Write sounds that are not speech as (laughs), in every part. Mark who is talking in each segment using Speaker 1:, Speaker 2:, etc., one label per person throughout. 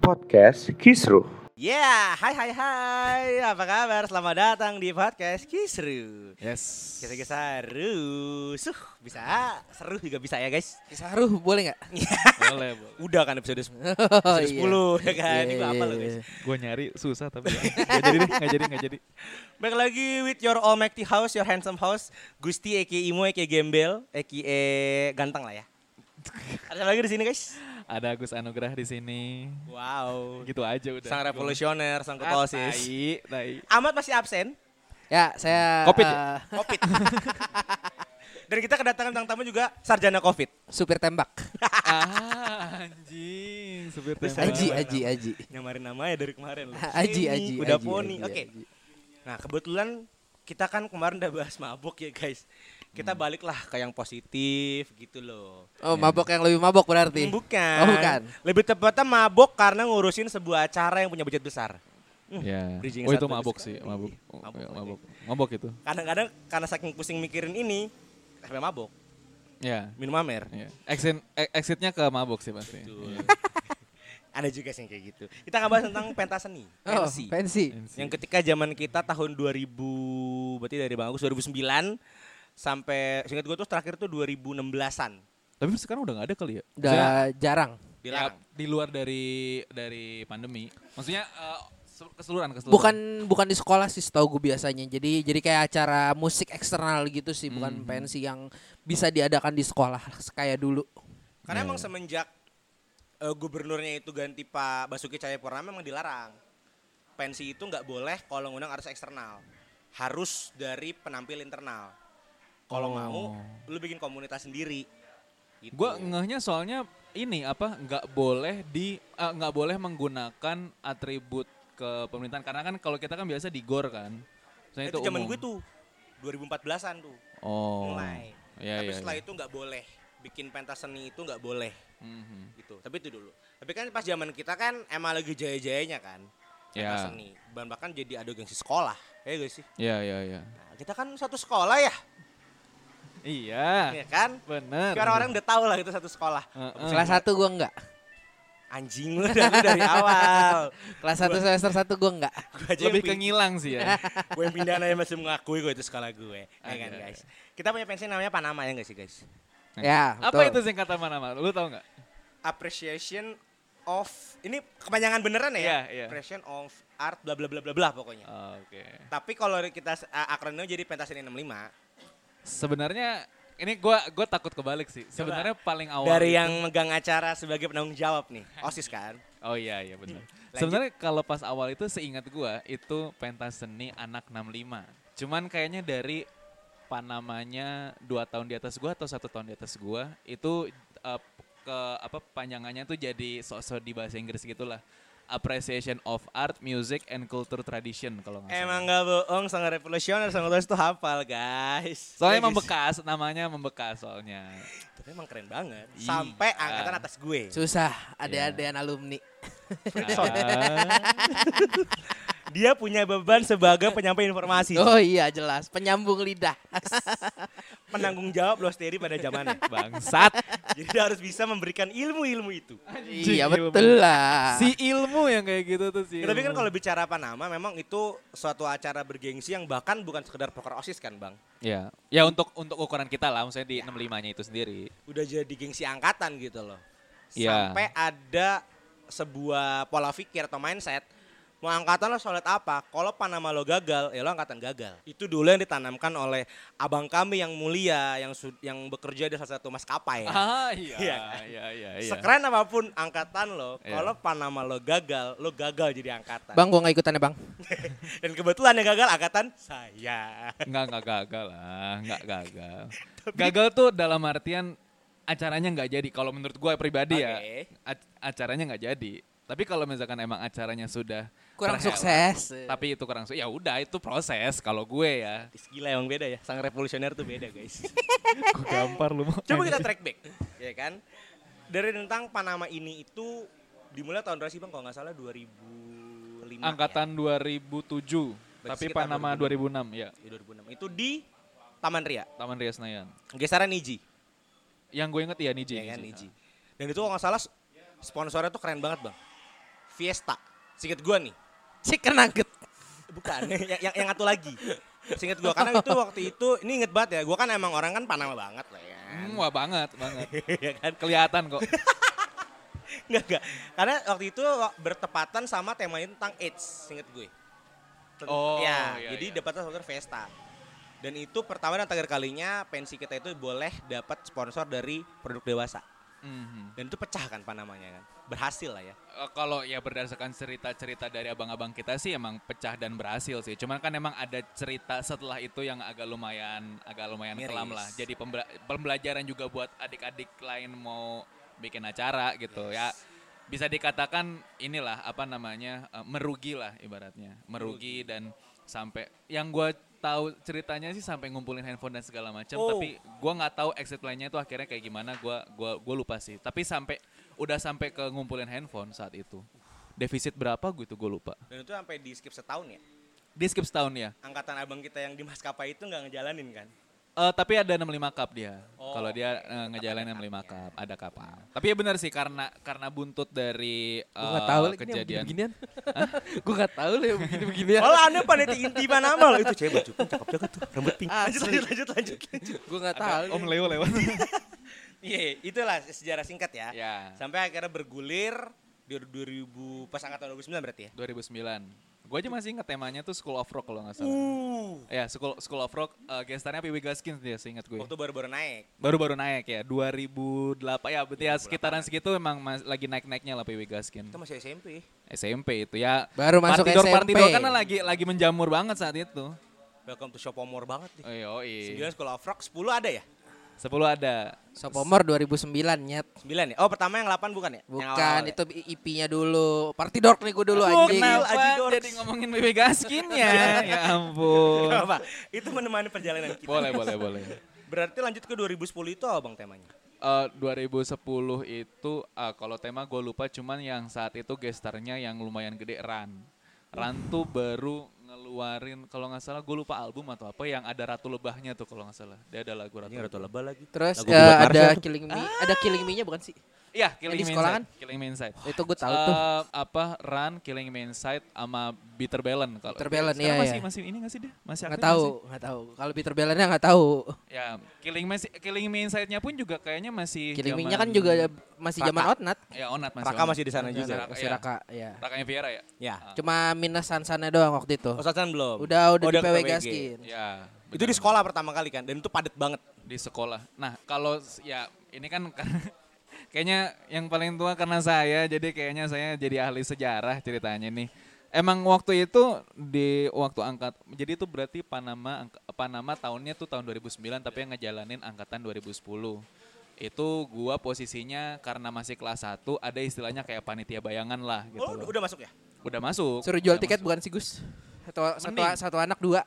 Speaker 1: podcast Kisru.
Speaker 2: Ya, hai hai hai. Apa kabar? Selamat datang di podcast Kisru.
Speaker 3: Yes.
Speaker 2: Kisah-kisah seru. Suh, bisa seru juga bisa ya, guys.
Speaker 3: Kisaruh boleh
Speaker 2: (laughs)
Speaker 3: nggak?
Speaker 2: Boleh, Udah kan episode, se-
Speaker 3: Oh, Iya,
Speaker 2: episode 10 ya kan. Ini apa lo, guys?
Speaker 4: Gue nyari susah tapi ya. nggak jadi deh, nggak jadi, nggak jadi.
Speaker 2: Baik lagi with your almighty house, your handsome house, Gusti aka Imo aka Gembel, aka ganteng lah ya. Ada siapa lagi di sini, guys?
Speaker 4: Ada Agus Anugrah di sini.
Speaker 2: Wow.
Speaker 4: Gitu aja udah.
Speaker 2: Sang revolusioner, sang
Speaker 4: Ah,
Speaker 2: ketosis.
Speaker 4: tai, tai.
Speaker 2: Ahmad masih absen.
Speaker 3: Ya, saya
Speaker 4: Covid
Speaker 3: eh,
Speaker 2: Covid. Dan kita kedatangan bintang tamu juga sarjana Covid. (laughs)
Speaker 3: supir tembak.
Speaker 4: Ah, anjing, supir tembak.
Speaker 3: Aji,
Speaker 2: tembak.
Speaker 3: aji, aji.
Speaker 2: Nyamarin namanya dari kemarin loh.
Speaker 3: (laughs) Aji,
Speaker 2: Ini
Speaker 3: aji.
Speaker 2: Kuda
Speaker 3: aji,
Speaker 2: poni.
Speaker 3: aji,
Speaker 2: Oke.
Speaker 3: aji.
Speaker 2: Nah, kebetulan kita kan kemarin udah bahas mabuk ya, guys. Kita
Speaker 3: Hmm.
Speaker 2: baliklah ke yang positif gitu loh.
Speaker 3: Oh, mabok yang lebih mabok berarti.
Speaker 2: Hmm, Bukan.
Speaker 3: Oh, bukan.
Speaker 2: Lebih tepatnya mabuk karena ngurusin sebuah acara yang punya budget besar. Hmm,
Speaker 4: Ya.
Speaker 2: Bridging
Speaker 4: Oh itu
Speaker 2: satu
Speaker 4: mabok
Speaker 2: besar.
Speaker 4: sih, mabok. Oh,
Speaker 2: Mabok,
Speaker 4: ya,
Speaker 2: oke.
Speaker 4: mabok. Mabok itu.
Speaker 2: Kadang-kadang karena saking pusing mikirin ini sampai mabuk,
Speaker 4: Ya.
Speaker 2: minum amer.
Speaker 4: Ya. Exit, e- exitnya ke mabok sih pasti.
Speaker 2: Betul.
Speaker 4: Iya.
Speaker 2: Ada juga sih yang kayak gitu. Kita akan bahas tentang pentas seni,
Speaker 3: Oh,
Speaker 2: pensi.
Speaker 3: pensi.
Speaker 2: yang ketika zaman kita tahun 2000 berarti dari Bang Agus 2009 sampai singkat gue tuh terakhir tuh 2016-an.
Speaker 4: Tapi sekarang udah nggak ada kali ya. Maksudnya,
Speaker 3: Udah jarang.
Speaker 2: Dilarang.
Speaker 4: ya, di luar dari dari pandemi. Maksudnya eh, se- keseluruhan keseluruhan.
Speaker 3: Bukan bukan di sekolah sih setahu gue biasanya. Jadi jadi kayak acara musik eksternal gitu sih, bukan
Speaker 2: Hmm.
Speaker 3: pensi yang bisa diadakan di sekolah kayak dulu.
Speaker 2: Karena
Speaker 4: Iya,
Speaker 2: emang
Speaker 4: iya.
Speaker 2: semenjak eh, gubernurnya itu ganti Pak Basuki Cahayapurnama memang dilarang. Pensi itu nggak boleh kalau ngundang artis eksternal. Harus dari penampil internal. Kalau
Speaker 4: Oh.
Speaker 2: mau lu bikin komunitas sendiri. Gitu.
Speaker 4: Gue ngehnya soalnya ini apa nggak boleh di eh, nggak boleh menggunakan atribut ke pemerintahan karena kan kalau kita kan biasa di gor kan. Misalnya
Speaker 2: itu zaman
Speaker 4: umum.
Speaker 2: gue tuh 2014-an tuh
Speaker 4: Oh.
Speaker 2: mulai.
Speaker 4: Iya,
Speaker 2: Tapi
Speaker 4: iya,
Speaker 2: setelah
Speaker 4: iya.
Speaker 2: itu nggak boleh bikin pentas seni itu nggak boleh
Speaker 4: Mhm.
Speaker 2: gitu. Tapi itu dulu. Tapi kan pas zaman kita kan emang lagi jaya-jayanya kan. Pentas
Speaker 4: Ya.
Speaker 2: seni. Bahkan bahkan jadi ada gengsi sekolah. Ya gak sih?
Speaker 4: Iya iya iya.
Speaker 2: Nah, kita kan satu sekolah ya,
Speaker 4: Iya.
Speaker 2: ya kan?
Speaker 4: Bener.
Speaker 2: Tapi orang-orang udah tahu lah itu satu sekolah.
Speaker 4: Heeh.
Speaker 3: Kelas satu gue enggak.
Speaker 2: Anjing (laughs) lu dari, dari awal.
Speaker 3: Kelas satu semester satu gue enggak.
Speaker 2: Gua aja
Speaker 4: lebih
Speaker 2: yang
Speaker 4: ke
Speaker 2: pin-
Speaker 4: ngilang sih
Speaker 2: (laughs)
Speaker 4: ya.
Speaker 2: Gue yang pindahan aja masih mengakui gue itu sekolah gue. Ya
Speaker 4: Oke,
Speaker 2: kan
Speaker 4: oke.
Speaker 2: guys. Kita punya pensi namanya Panama ya gak sih guys?
Speaker 3: Ya,
Speaker 4: apa itu
Speaker 3: betul.
Speaker 4: singkatan nama-nama? Lu tau nggak?
Speaker 2: Appreciation of ini kepanjangan beneran ya?
Speaker 4: Iya, Oh. iya.
Speaker 2: Appreciation of art bla bla bla bla bla pokoknya.
Speaker 4: Oke.
Speaker 2: Tapi kalau kita uh, akronimnya jadi pentas seni 65
Speaker 4: Sebenarnya ini gua gua takut kebalik sih. Sebenarnya paling awal
Speaker 2: dari
Speaker 4: itu-
Speaker 2: yang megang acara sebagai penanggung jawab nih, OSIS kan.
Speaker 4: Oh iya iya benar.
Speaker 2: Lanjut.
Speaker 4: Sebenarnya kalau pas awal itu seingat gua itu pentas seni anak 65. Cuman kayaknya dari panamanya dua tahun di atas gua atau satu tahun di atas gua itu eh, ke apa panjangannya tuh jadi sok-sok di bahasa Inggris gitulah. Appreciation of Art, Music and Culture Tradition kalau nggak salah.
Speaker 2: Emang gak bohong, sangat revolusioner, sangat tulis itu hafal guys. Ya,
Speaker 4: Soalnya
Speaker 2: guys.
Speaker 4: membekas, namanya membekas soalnya.
Speaker 2: Tapi emang keren banget.
Speaker 4: Iya.
Speaker 2: Sampai angkatan atas gue.
Speaker 3: Susah
Speaker 2: Ya.
Speaker 3: ada-adaan alumni.
Speaker 4: Ah,
Speaker 2: Dia punya beban sebagai penyampai informasi.
Speaker 3: (laughs) Oh iya jelas, penyambung lidah.
Speaker 2: Penanggung jawab loh sendiri pada
Speaker 4: (laughs)
Speaker 2: zamannya.
Speaker 4: bangsat.
Speaker 2: Jadi dia harus bisa memberikan ilmu-ilmu itu.
Speaker 3: iya
Speaker 4: Anjing, ilmu.
Speaker 3: betul lah.
Speaker 4: Si ilmu yang kayak gitu tuh sih.
Speaker 2: Ya, tapi kan kalau bicara Panama memang itu suatu acara bergengsi yang bahkan bukan sekedar poker OSIS kan bang.
Speaker 4: Ya, ya untuk untuk ukuran kita lah, maksudnya di 65-nya itu sendiri.
Speaker 2: udah jadi gengsi angkatan gitu loh.
Speaker 4: Iya.
Speaker 2: Sampai ada sebuah pola pikir atau mindset mau angkatan lo solid apa? Kalau Panama lo gagal, ya lo angkatan gagal. Itu dulu yang ditanamkan oleh abang kami yang mulia yang su- yang bekerja di salah satu maskapai.
Speaker 4: Ah iya,
Speaker 2: Iya
Speaker 4: iya,
Speaker 2: kan?
Speaker 4: iya, iya.
Speaker 2: Sekeren apapun angkatan lo,
Speaker 4: Iya.
Speaker 2: kalau Panama lo gagal, lo gagal jadi angkatan.
Speaker 3: Bang gua nggak ikutan ya bang.
Speaker 2: (laughs) Dan kebetulan yang gagal angkatan saya.
Speaker 4: Enggak, enggak gagal lah, enggak gagal. gagal tuh dalam artian acaranya enggak jadi. Kalau menurut gue pribadi ya,
Speaker 2: Oke.
Speaker 4: ac- acaranya enggak jadi. Tapi kalau misalkan emang acaranya sudah
Speaker 3: Kurang
Speaker 4: terhelat,
Speaker 3: sukses.
Speaker 4: tapi itu kurang sukses, ya udah itu proses kalau gue ya.
Speaker 2: Gila emang beda ya, sang revolusioner tuh beda guys.
Speaker 4: Gue gampar lu mau.
Speaker 2: Coba kita track back, ya kan? Dari tentang Panama ini itu dimulai tahun berapa sih bang? Kalau nggak salah 2005.
Speaker 4: angkatan 2007, tapi
Speaker 2: sekitar
Speaker 4: Panama 2006 ya,
Speaker 2: Ya? Ya, 2006. Itu di Taman Ria,
Speaker 4: Taman Ria Senayan.
Speaker 2: geseran Niji, kan,
Speaker 4: Yang gue inget ya Niji.
Speaker 2: Iya ya kan Niji. Dan itu kalau nggak salah s- sponsornya tuh keren banget bang. Fiesta. Singkat gua nih.
Speaker 3: Chicken nugget.
Speaker 2: Bukan, (laughs) yang, yang, yang satu lagi. Singkat gua karena itu waktu itu ini inget banget ya. Gua kan emang orang kan Panama banget lah ya.
Speaker 4: Hmm, wah banget, banget.
Speaker 2: Iya kan?
Speaker 4: Kelihatan kok.
Speaker 2: Enggak, enggak. Karena waktu itu bertepatan sama temanya tentang AIDS, inget gue. Ten-
Speaker 4: Oh,
Speaker 2: ya,
Speaker 4: iya,
Speaker 2: jadi
Speaker 4: iya.
Speaker 2: dapatnya sponsor Vesta. Dan itu pertama dan terakhir kalinya pensi kita itu boleh dapat sponsor dari produk dewasa.
Speaker 4: Mhm.
Speaker 2: Dan itu pecah kan panamanya kan. Berhasil lah ya.
Speaker 4: Eh, Kalau ya berdasarkan cerita-cerita dari abang-abang kita sih emang pecah dan berhasil sih. Cuman kan emang ada cerita setelah itu yang agak lumayan agak lumayan
Speaker 2: Miris.
Speaker 4: kelam lah. Jadi pembela- pembelajaran juga buat adik-adik lain mau bikin acara gitu ya. Bisa dikatakan inilah apa namanya eh, merugi lah ibaratnya. Merugi dan sampai yang gua tahu ceritanya sih sampai ngumpulin handphone dan segala macam
Speaker 2: Oh.
Speaker 4: tapi gua nggak tahu exit plan-nya itu akhirnya kayak gimana gua gua gua lupa sih tapi sampai udah sampai ke ngumpulin handphone saat itu defisit berapa gue itu gue lupa
Speaker 2: Dan itu sampai di skip setahun ya.
Speaker 4: di skip setahun ya
Speaker 2: Angkatan abang kita yang di maskapai itu nggak ngejalanin kan.
Speaker 4: Eh, tapi ada 65 cup dia
Speaker 2: Oh,
Speaker 4: kalau dia eh, ngejalanin 65 cup ada kapal tapi ya benar sih karena karena buntut dari
Speaker 3: Gue
Speaker 4: eh,
Speaker 3: gak tau lagi
Speaker 4: kejadian
Speaker 3: beginian. Gue gak tau lah yang begini-beginian.
Speaker 2: Kalau anda panitia inti Panama loh itu cewek baju pink, cakep juga tuh, rambut pink. Lanjut lanjut lanjut lanjut. lanjut.
Speaker 3: Gue gak tau.
Speaker 4: ada om Leo lewat
Speaker 2: Iya, itulah sejarah singkat ya.
Speaker 4: ya
Speaker 2: Sampai akhirnya bergulir di 2000 pas angkatan 2009 berarti ya.
Speaker 4: 2009 gue aja masih ingat temanya tuh School of Rock kalau nggak salah
Speaker 2: Uh.
Speaker 3: Hmm.
Speaker 4: ya School School of Rock eh, gestarnya PB Gaskins dia seingat gue
Speaker 2: Waktu baru-baru naik.
Speaker 4: baru-baru naik ya 2008 ya berarti ya sekitaran segitu emang mas- lagi naik-naiknya lah PW Gaskin
Speaker 2: Itu masih SMP.
Speaker 4: SMP itu ya
Speaker 3: Baru masuk
Speaker 4: partidor
Speaker 3: SMP.
Speaker 4: partidor kan lagi lagi menjamur banget saat itu
Speaker 2: Welcome to Shopomore banget nih.
Speaker 4: oh,
Speaker 2: 9
Speaker 4: iya.
Speaker 2: sekolah of rock, 10 ada ya?
Speaker 4: 10 ada
Speaker 3: Sophomore 2009 nyet.
Speaker 2: 9 ya? Oh pertama yang 8 bukan ya? Yang
Speaker 3: Bukan,
Speaker 2: awal-awal ya? (laughs)
Speaker 3: itu IP-nya dulu. Party dork nih gue dulu
Speaker 2: Oh,
Speaker 3: anjing.
Speaker 2: kenal.
Speaker 4: Kenapa
Speaker 2: Aji Dorks.
Speaker 4: jadi ngomongin PW Gaskin ya ya
Speaker 2: (laughs)
Speaker 4: ampun
Speaker 2: Gak apa, itu menemani perjalanan kita.
Speaker 4: boleh boleh boleh
Speaker 2: Berarti lanjut ke 2010 itu apa bang temanya?
Speaker 4: Eh, 2010 itu eh, kalau tema gue lupa cuman yang saat itu gestarnya yang lumayan gede Ran Ran tuh baru ngeluarin kalau nggak salah gue lupa album atau apa yang ada Ratu Lebahnya tuh kalau nggak salah dia ada lagu Ratu
Speaker 2: Ini Ratu Lebah lagi.
Speaker 3: Terus
Speaker 2: Lagu
Speaker 3: eh,
Speaker 2: buat
Speaker 3: ada
Speaker 2: Marcel tuh.
Speaker 3: Killing Me, ada Killing Me-nya bukan sih?
Speaker 4: Iya,
Speaker 3: Yang di
Speaker 4: Killing Me
Speaker 3: sekolah kan?
Speaker 4: Inside. Killing Me Inside.
Speaker 3: Itu gue tahu tuh.
Speaker 4: Eh, apa Run, Killing Me Inside sama Bitter Belen kalau.
Speaker 3: Bitter Belen,
Speaker 4: Sekarang
Speaker 3: iya,
Speaker 4: Masih
Speaker 3: iya.
Speaker 4: masih ini nggak sih dia? Masih
Speaker 3: Nggak
Speaker 4: aktif nggak
Speaker 3: tahu,
Speaker 4: sih?
Speaker 3: nggak tahu. Kalau Peter Bellenya nggak tahu.
Speaker 4: Ya, Killing Me Killing Me Inside-nya pun juga kayaknya masih
Speaker 3: Killing
Speaker 4: zaman-
Speaker 3: Me-nya kan juga masih zaman
Speaker 2: Raka.
Speaker 3: Outnat.
Speaker 4: Ya, Onat masih.
Speaker 2: Raka
Speaker 4: Onat.
Speaker 2: masih di sana juga.
Speaker 4: Raka,
Speaker 3: Masih
Speaker 4: ya.
Speaker 3: Raka, Ah. ya.
Speaker 4: Rakanya Viera ya?
Speaker 2: Ya.
Speaker 3: Cuma minus sansana doang waktu itu.
Speaker 2: Oh Sasan belum?
Speaker 3: Udah udah
Speaker 2: Oh,
Speaker 3: di
Speaker 2: ke
Speaker 3: PW
Speaker 2: PWG.
Speaker 3: Gaskin.
Speaker 4: Ya.
Speaker 2: Itu di
Speaker 4: benar.
Speaker 2: sekolah pertama kali kan? Dan itu padat banget.
Speaker 4: di sekolah. Nah, kalau s- ya ini kan (laughs) karena- kayaknya yang paling tua karena saya, jadi kayaknya saya jadi ahli sejarah ceritanya nih. Emang waktu itu di waktu angkat, jadi itu berarti Panama angka- Panama tahunnya tuh tahun 2009 tapi yang ngejalanin angkatan 2010. Itu gua posisinya karena masih kelas 1 ada istilahnya kayak panitia bayangan lah gitu.
Speaker 2: Oh
Speaker 4: loh.
Speaker 2: udah masuk ya?
Speaker 4: Udah masuk.
Speaker 3: Suruh jual
Speaker 4: udah
Speaker 3: tiket
Speaker 4: Iya, masuk.
Speaker 3: bukan sih Gus? Satu, satu,
Speaker 4: Mending.
Speaker 3: satu anak dua.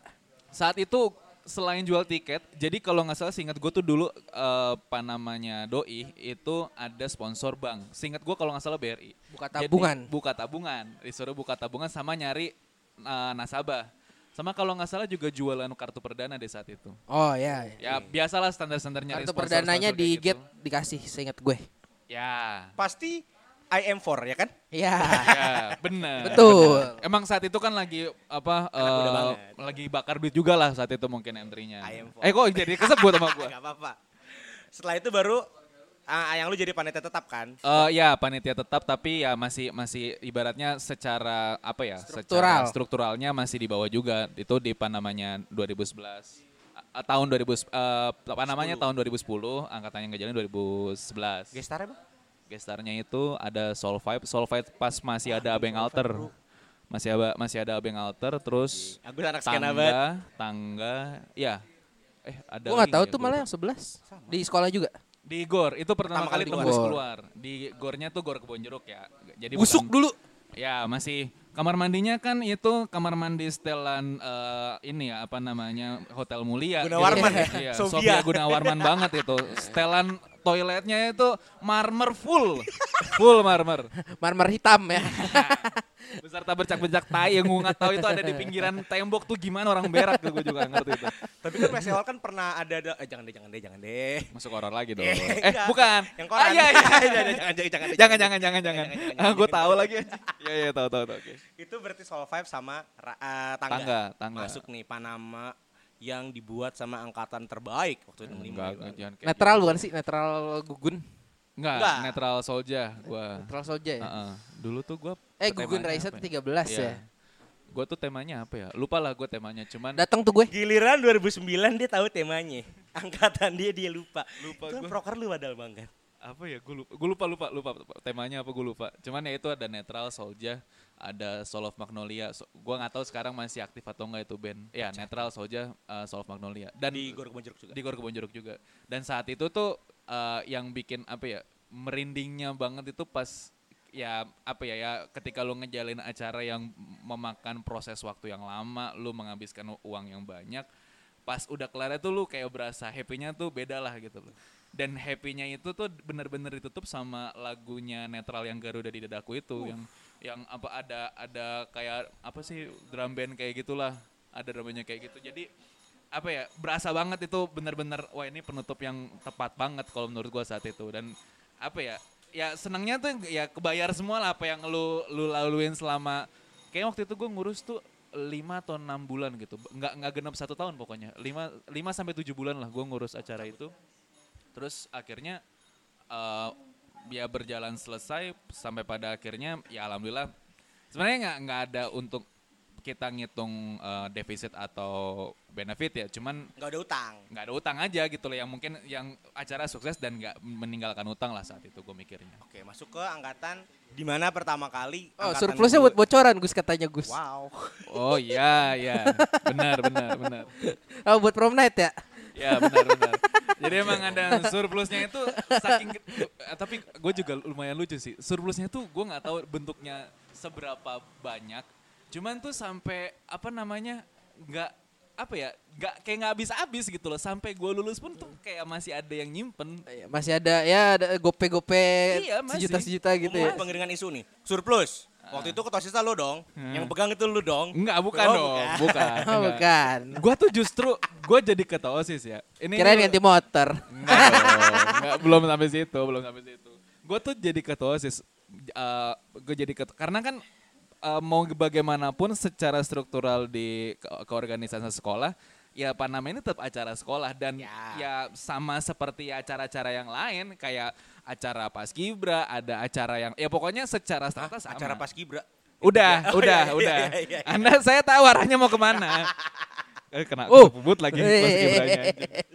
Speaker 4: Saat itu selain jual tiket, jadi kalau nggak salah seingat gue tuh dulu eh, apa namanya doi itu ada sponsor bank. Seingat gue kalau nggak salah BRI.
Speaker 3: Buka
Speaker 4: Jadi,
Speaker 3: tabungan.
Speaker 4: buka tabungan, disuruh buka tabungan sama nyari eh, nasabah. Sama kalau nggak salah juga jualan kartu perdana deh saat itu.
Speaker 3: Oh ya. ya.
Speaker 4: Ya biasalah standar-standar nyari
Speaker 3: Kartu
Speaker 4: sponsor-sponsor
Speaker 3: perdananya
Speaker 4: kayak
Speaker 3: di
Speaker 4: gitu.
Speaker 3: gate dikasih seingat gue.
Speaker 4: Ya.
Speaker 2: Pasti I am 4 ya kan?
Speaker 3: Iya.
Speaker 4: Ya, benar.
Speaker 3: Betul.
Speaker 4: Benar. Emang saat itu kan lagi apa
Speaker 2: Anak muda
Speaker 4: eh,
Speaker 2: banget.
Speaker 4: lagi bakar duit juga lah saat itu mungkin entry-nya.
Speaker 2: I am for-
Speaker 4: Eh kok jadi kesebut sama
Speaker 2: (laughs)
Speaker 4: gua?
Speaker 2: Gak apa-apa. Setelah itu baru ah, yang lu jadi panitia tetap kan?
Speaker 4: Eh ya panitia tetap tapi ya masih masih ibaratnya secara apa ya
Speaker 3: Struktural.
Speaker 4: secara strukturalnya masih di bawah juga itu di Panamanya 2011 A- tahun 2000 eh Panamanya tahun 2010 angkatannya nggak jalan 2011
Speaker 2: Gestarnya bang?
Speaker 4: gestarnya itu ada Soul Vibe Soul Vibe pas masih
Speaker 3: Ah,
Speaker 4: ada Abeng Alter masih ada masih ada Abeng Alter terus
Speaker 2: Agus anak skena banget.
Speaker 4: tangga tangga ya eh ada
Speaker 3: Gue
Speaker 4: lagi
Speaker 3: nggak tahu
Speaker 4: ya,
Speaker 3: tuh
Speaker 4: gua
Speaker 3: malah yang sebelas di sekolah juga.
Speaker 4: di gor itu
Speaker 2: Pertama
Speaker 4: pertama, kali
Speaker 2: kali
Speaker 4: tembus
Speaker 3: keluar.
Speaker 4: keluar. Di gornya tuh gor kebon jeruk ya. Jadi
Speaker 3: Busuk
Speaker 4: bukan-
Speaker 3: dulu.
Speaker 4: Ya masih kamar mandinya kan itu kamar mandi setelan eh, ini ya apa namanya hotel mulia.
Speaker 2: Gunawarman
Speaker 4: Jadi-
Speaker 2: ya?
Speaker 4: Iya,
Speaker 2: Sofia.
Speaker 4: Sofia Gunawarman banget itu. Setelan toiletnya itu marmer full. Full marmer.
Speaker 3: Marmer hitam
Speaker 4: (laughs)
Speaker 3: ya.
Speaker 4: Beserta bercak-bercak tai yang gue nggak tahu itu ada di pinggiran tembok tuh gimana orang berak tuh gue juga nggak ngerti itu.
Speaker 2: Tapi kan Messi Hall kan pernah ada, ada eh, jangan deh, jangan deh, jangan deh.
Speaker 4: Masuk horor lagi
Speaker 2: (laughs)
Speaker 4: dong.
Speaker 2: Eh,
Speaker 4: eh,
Speaker 2: enggak.
Speaker 4: bukan.
Speaker 2: Yang koran.
Speaker 4: Ah, iya, iya.
Speaker 2: (laughs) jangan, jangan, jangan, jangan,
Speaker 4: jangan jangan jangan jangan.
Speaker 2: jangan,
Speaker 4: Ah, gue
Speaker 2: jangan.
Speaker 4: tahu lagi. (laughs) Iya iya tahu tahu tahu. Oke.
Speaker 2: Itu berarti Soul Five sama ra- eh, tangga.
Speaker 4: Tangga, tangga.
Speaker 2: Masuk nih Panama yang dibuat sama angkatan terbaik waktu itu 65
Speaker 4: Enggak,
Speaker 2: gitu kan.
Speaker 4: jangan kayak
Speaker 3: Netral
Speaker 4: gitu.
Speaker 3: bukan sih? Netral gugun.
Speaker 4: Enggak,
Speaker 2: Enggak.
Speaker 4: netral soldier gue.
Speaker 3: Netral Soja ya.
Speaker 4: Dulu tuh gue
Speaker 3: Eh gugun Raisa tuh 13 ya.
Speaker 4: Gue Iya. tuh temanya apa ya? Lupa lah gue temanya, cuman
Speaker 3: Datang tuh gue.
Speaker 2: Giliran 2009 dia tahu temanya. Angkatan dia dia lupa.
Speaker 4: Lupa
Speaker 2: Itu kan
Speaker 4: gua.
Speaker 2: proker lu badal kan? banget.
Speaker 4: apa ya gue lupa, gue lupa lupa lupa temanya apa gue lupa cuman ya itu ada netral soldier ada soul of magnolia so, gue nggak tahu sekarang masih aktif atau enggak itu band ya netral soldier uh, soul of magnolia dan
Speaker 2: Di Gorok Bonjeruk juga.
Speaker 4: di Gor Kebon Jeruk juga dan saat itu tuh uh, yang bikin apa ya merindingnya banget itu pas ya apa ya ya ketika lu ngejalin acara yang memakan proses waktu yang lama lu menghabiskan uang yang banyak pas udah kelar itu lu kayak berasa happy-nya tuh beda lah gitu loh dan happy-nya itu tuh bener-bener ditutup sama lagunya netral yang Garuda di dadaku itu yang yang apa ada ada kayak apa sih drum band kayak gitulah ada drum bandnya kayak gitu jadi apa ya berasa banget itu bener-bener wah ini penutup yang tepat banget kalau menurut gua saat itu dan apa ya ya senangnya tuh ya kebayar semua lah apa yang lu lu laluin selama kayak waktu itu gua ngurus tuh lima atau enam bulan gitu nggak nggak genap satu tahun pokoknya lima lima sampai tujuh bulan lah gua ngurus acara itu terus akhirnya eh ya berjalan selesai sampai pada akhirnya ya alhamdulillah sebenarnya nggak nggak ada untuk kita ngitung eh, defisit atau benefit ya cuman
Speaker 2: Enggak ada utang.
Speaker 4: nggak ada utang aja gitu loh yang mungkin yang acara sukses dan nggak meninggalkan utang lah saat itu gue mikirnya
Speaker 2: Oke, masuk ke angkatan di mana pertama kali
Speaker 3: Oh,
Speaker 2: angkatan
Speaker 3: surplusnya
Speaker 2: gua-
Speaker 3: buat bocoran Gus katanya Gus.
Speaker 2: Wow.
Speaker 4: oh iya iya benar benar benar
Speaker 3: Oh, buat prom night ya.
Speaker 4: Ya benar benar. Jadi emang ada surplusnya itu saking eh, tapi gue juga lumayan lucu sih. Surplusnya tuh gue nggak tahu bentuknya seberapa banyak. Cuman tuh sampai apa namanya nggak apa ya nggak kayak nggak habis habis gitu loh. Sampai gue lulus pun tuh kayak masih ada yang nyimpen.
Speaker 3: Iya, Masih ada ya ada gope-gope
Speaker 4: Iya, masih.
Speaker 3: sejuta-sejuta gitu ya.
Speaker 2: Ngomongin pengiringan isu nih. Surplus. Waktu itu ketosisa lu dong. Yang pegang itu lu dong.
Speaker 4: Enggak Ah. Hmm. bukan
Speaker 2: Oh,
Speaker 4: dong,
Speaker 2: bukan. (laughs)
Speaker 4: bukan.
Speaker 3: Oh, bukan.
Speaker 4: Gue tuh justru gue jadi ketua osis ya. Ini
Speaker 3: Kirain ganti motor.
Speaker 4: Enggak, dong. Enggak, belum sampai situ, belum sampai situ. Gue tuh jadi ketua OSIS. eh, gue jadi ketua, karena kan eh, mau bagaimanapun secara struktural di ke- keorganisasian sekolah, ya Panama ini tetap acara sekolah dan
Speaker 2: Ya.
Speaker 4: ya, sama seperti acara-acara yang lain kayak acara paskibra, ada acara yang ya pokoknya
Speaker 2: Hah?
Speaker 4: secara strata sama.
Speaker 2: Acara paskibra.
Speaker 4: Udah,
Speaker 2: (laughs) Oh, iya,
Speaker 4: udah,
Speaker 2: iya,
Speaker 4: udah.
Speaker 2: iya, iya, iya.
Speaker 4: Anda saya tahu arahnya mau
Speaker 2: (laughs)
Speaker 4: kemana. eh, kena
Speaker 3: Oh.
Speaker 4: kebut lagi pas kibranya. eh.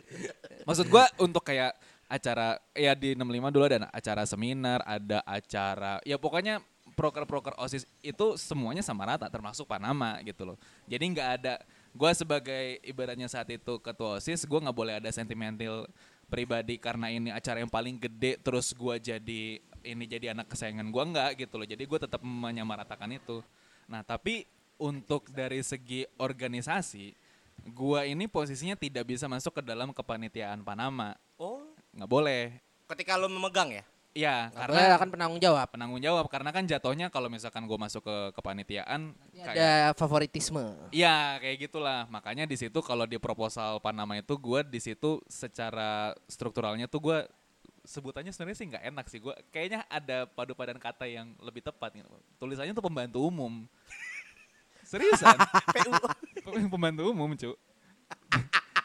Speaker 4: Maksud gua untuk kayak acara ya di 65 dulu ada acara seminar, ada acara ya pokoknya proker-proker OSIS itu semuanya sama rata termasuk Panama gitu loh. Jadi nggak ada gua sebagai ibaratnya saat itu ketua OSIS gua nggak boleh ada sentimental pribadi karena ini acara yang paling gede terus gua jadi ini jadi anak kesayangan gua nggak gitu loh. Jadi gua tetap menyamaratakan itu. Nah, tapi untuk dari segi organisasi gua ini posisinya tidak bisa masuk ke dalam kepanitiaan Panama.
Speaker 2: Oh,
Speaker 4: Nggak boleh.
Speaker 2: ketika lu memegang ya?
Speaker 4: Iya,
Speaker 3: Karena
Speaker 4: karena
Speaker 3: akan penanggung jawab.
Speaker 4: penanggung jawab karena kan jatuhnya kalau misalkan gua masuk ke kepanitiaan kayak
Speaker 3: Ada
Speaker 4: (laughs)
Speaker 3: favoritisme.
Speaker 4: Iya, kayak gitulah. Makanya di situ kalau di proposal Panama itu gua di situ secara strukturalnya tuh gua sebutannya sebenarnya sih nggak enak sih gua. Kayaknya ada padu padan kata yang lebih tepat gitu. Tulisannya tuh pembantu umum. (laughs) Seriusan? Pem- pembantu umum cu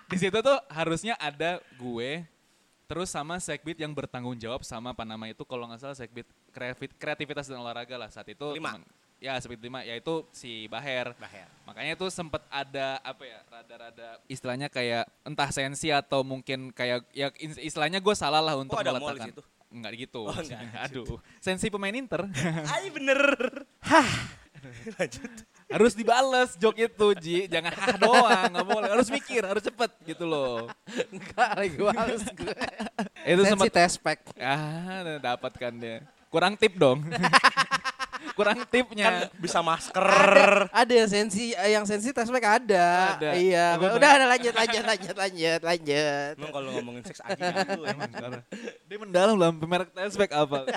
Speaker 4: di situ tuh harusnya ada gue terus sama segbit yang bertanggung jawab sama Panama itu kalau nggak salah segbit kreativit- kreativitas dan olahraga lah saat itu
Speaker 2: Lima.
Speaker 4: teman- ya segbit lima yaitu si Baher
Speaker 2: Baher.
Speaker 4: makanya tuh sempet ada apa ya rada-rada istilahnya kayak entah sensi atau mungkin kayak ya is- istilahnya gue salah lah
Speaker 2: Oh,
Speaker 4: untuk
Speaker 2: ada mall di
Speaker 4: meletakkan
Speaker 2: situ?
Speaker 4: nggak gitu
Speaker 2: Oh, nggak di
Speaker 4: (laughs) aduh sensi pemain Inter (laughs)
Speaker 2: Ay bener.
Speaker 4: harus dibales jok itu Ji jangan hah doang nggak boleh harus mikir harus cepet gitu loh
Speaker 3: Enggak lagi males gue.
Speaker 4: itu nah,
Speaker 3: Sensi
Speaker 4: sempat
Speaker 3: test pack.
Speaker 4: ah dapatkan dia kurang tip dong (laughs) kurang tipnya.
Speaker 2: Kan bisa masker.
Speaker 3: Ada, ada yang sensi, eh, yang sensi tes mic ada.
Speaker 4: Ada.
Speaker 3: Iya,
Speaker 4: Bener.
Speaker 3: udah ada lanjut lanjut lanjut lanjut
Speaker 2: (laughs)
Speaker 3: lanjut.
Speaker 2: Emang kalau ngomongin seks
Speaker 4: (laughs)
Speaker 2: aja gitu emang.
Speaker 4: dia mendalam lah merek tespek apa.
Speaker 2: (laughs)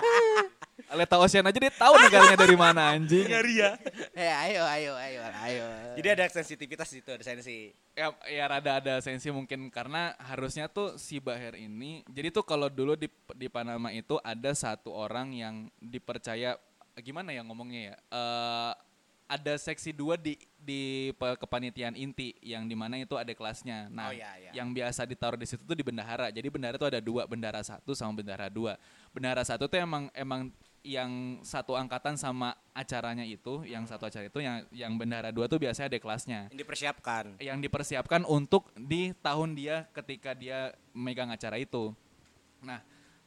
Speaker 4: Aleta Ocean aja dia tahu negaranya dari mana anjing.
Speaker 2: Nyari ya.
Speaker 3: Eh, ayo ayo ayo ayo.
Speaker 2: Jadi ada sensitivitas itu, ada sensi.
Speaker 4: Ya, ya rada ada sensi mungkin karena harusnya tuh si Baher ini. Jadi tuh kalau dulu di di Panama itu ada satu orang yang dipercaya gimana ya ngomongnya ya. Eh ada seksi dua di di pe- kepanitiaan inti yang dimana itu ada kelasnya.
Speaker 2: Oh,
Speaker 4: Nah,
Speaker 2: iya, iya.
Speaker 4: yang biasa ditaruh di situ tuh di bendahara. Jadi bendahara tuh ada dua, bendahara satu sama bendahara dua. Bendahara satu tuh emang emang yang satu angkatan sama acaranya itu,
Speaker 2: Hmm.
Speaker 4: yang satu acara itu, yang yang bendahara dua tuh biasanya ada kelasnya
Speaker 2: Yang dipersiapkan.
Speaker 4: yang dipersiapkan untuk di tahun dia ketika dia megang acara itu. Nah,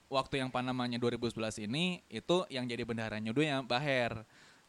Speaker 4: waktu yang Panamanya 2011 ini itu yang jadi bendaharanya dulu yang Baher.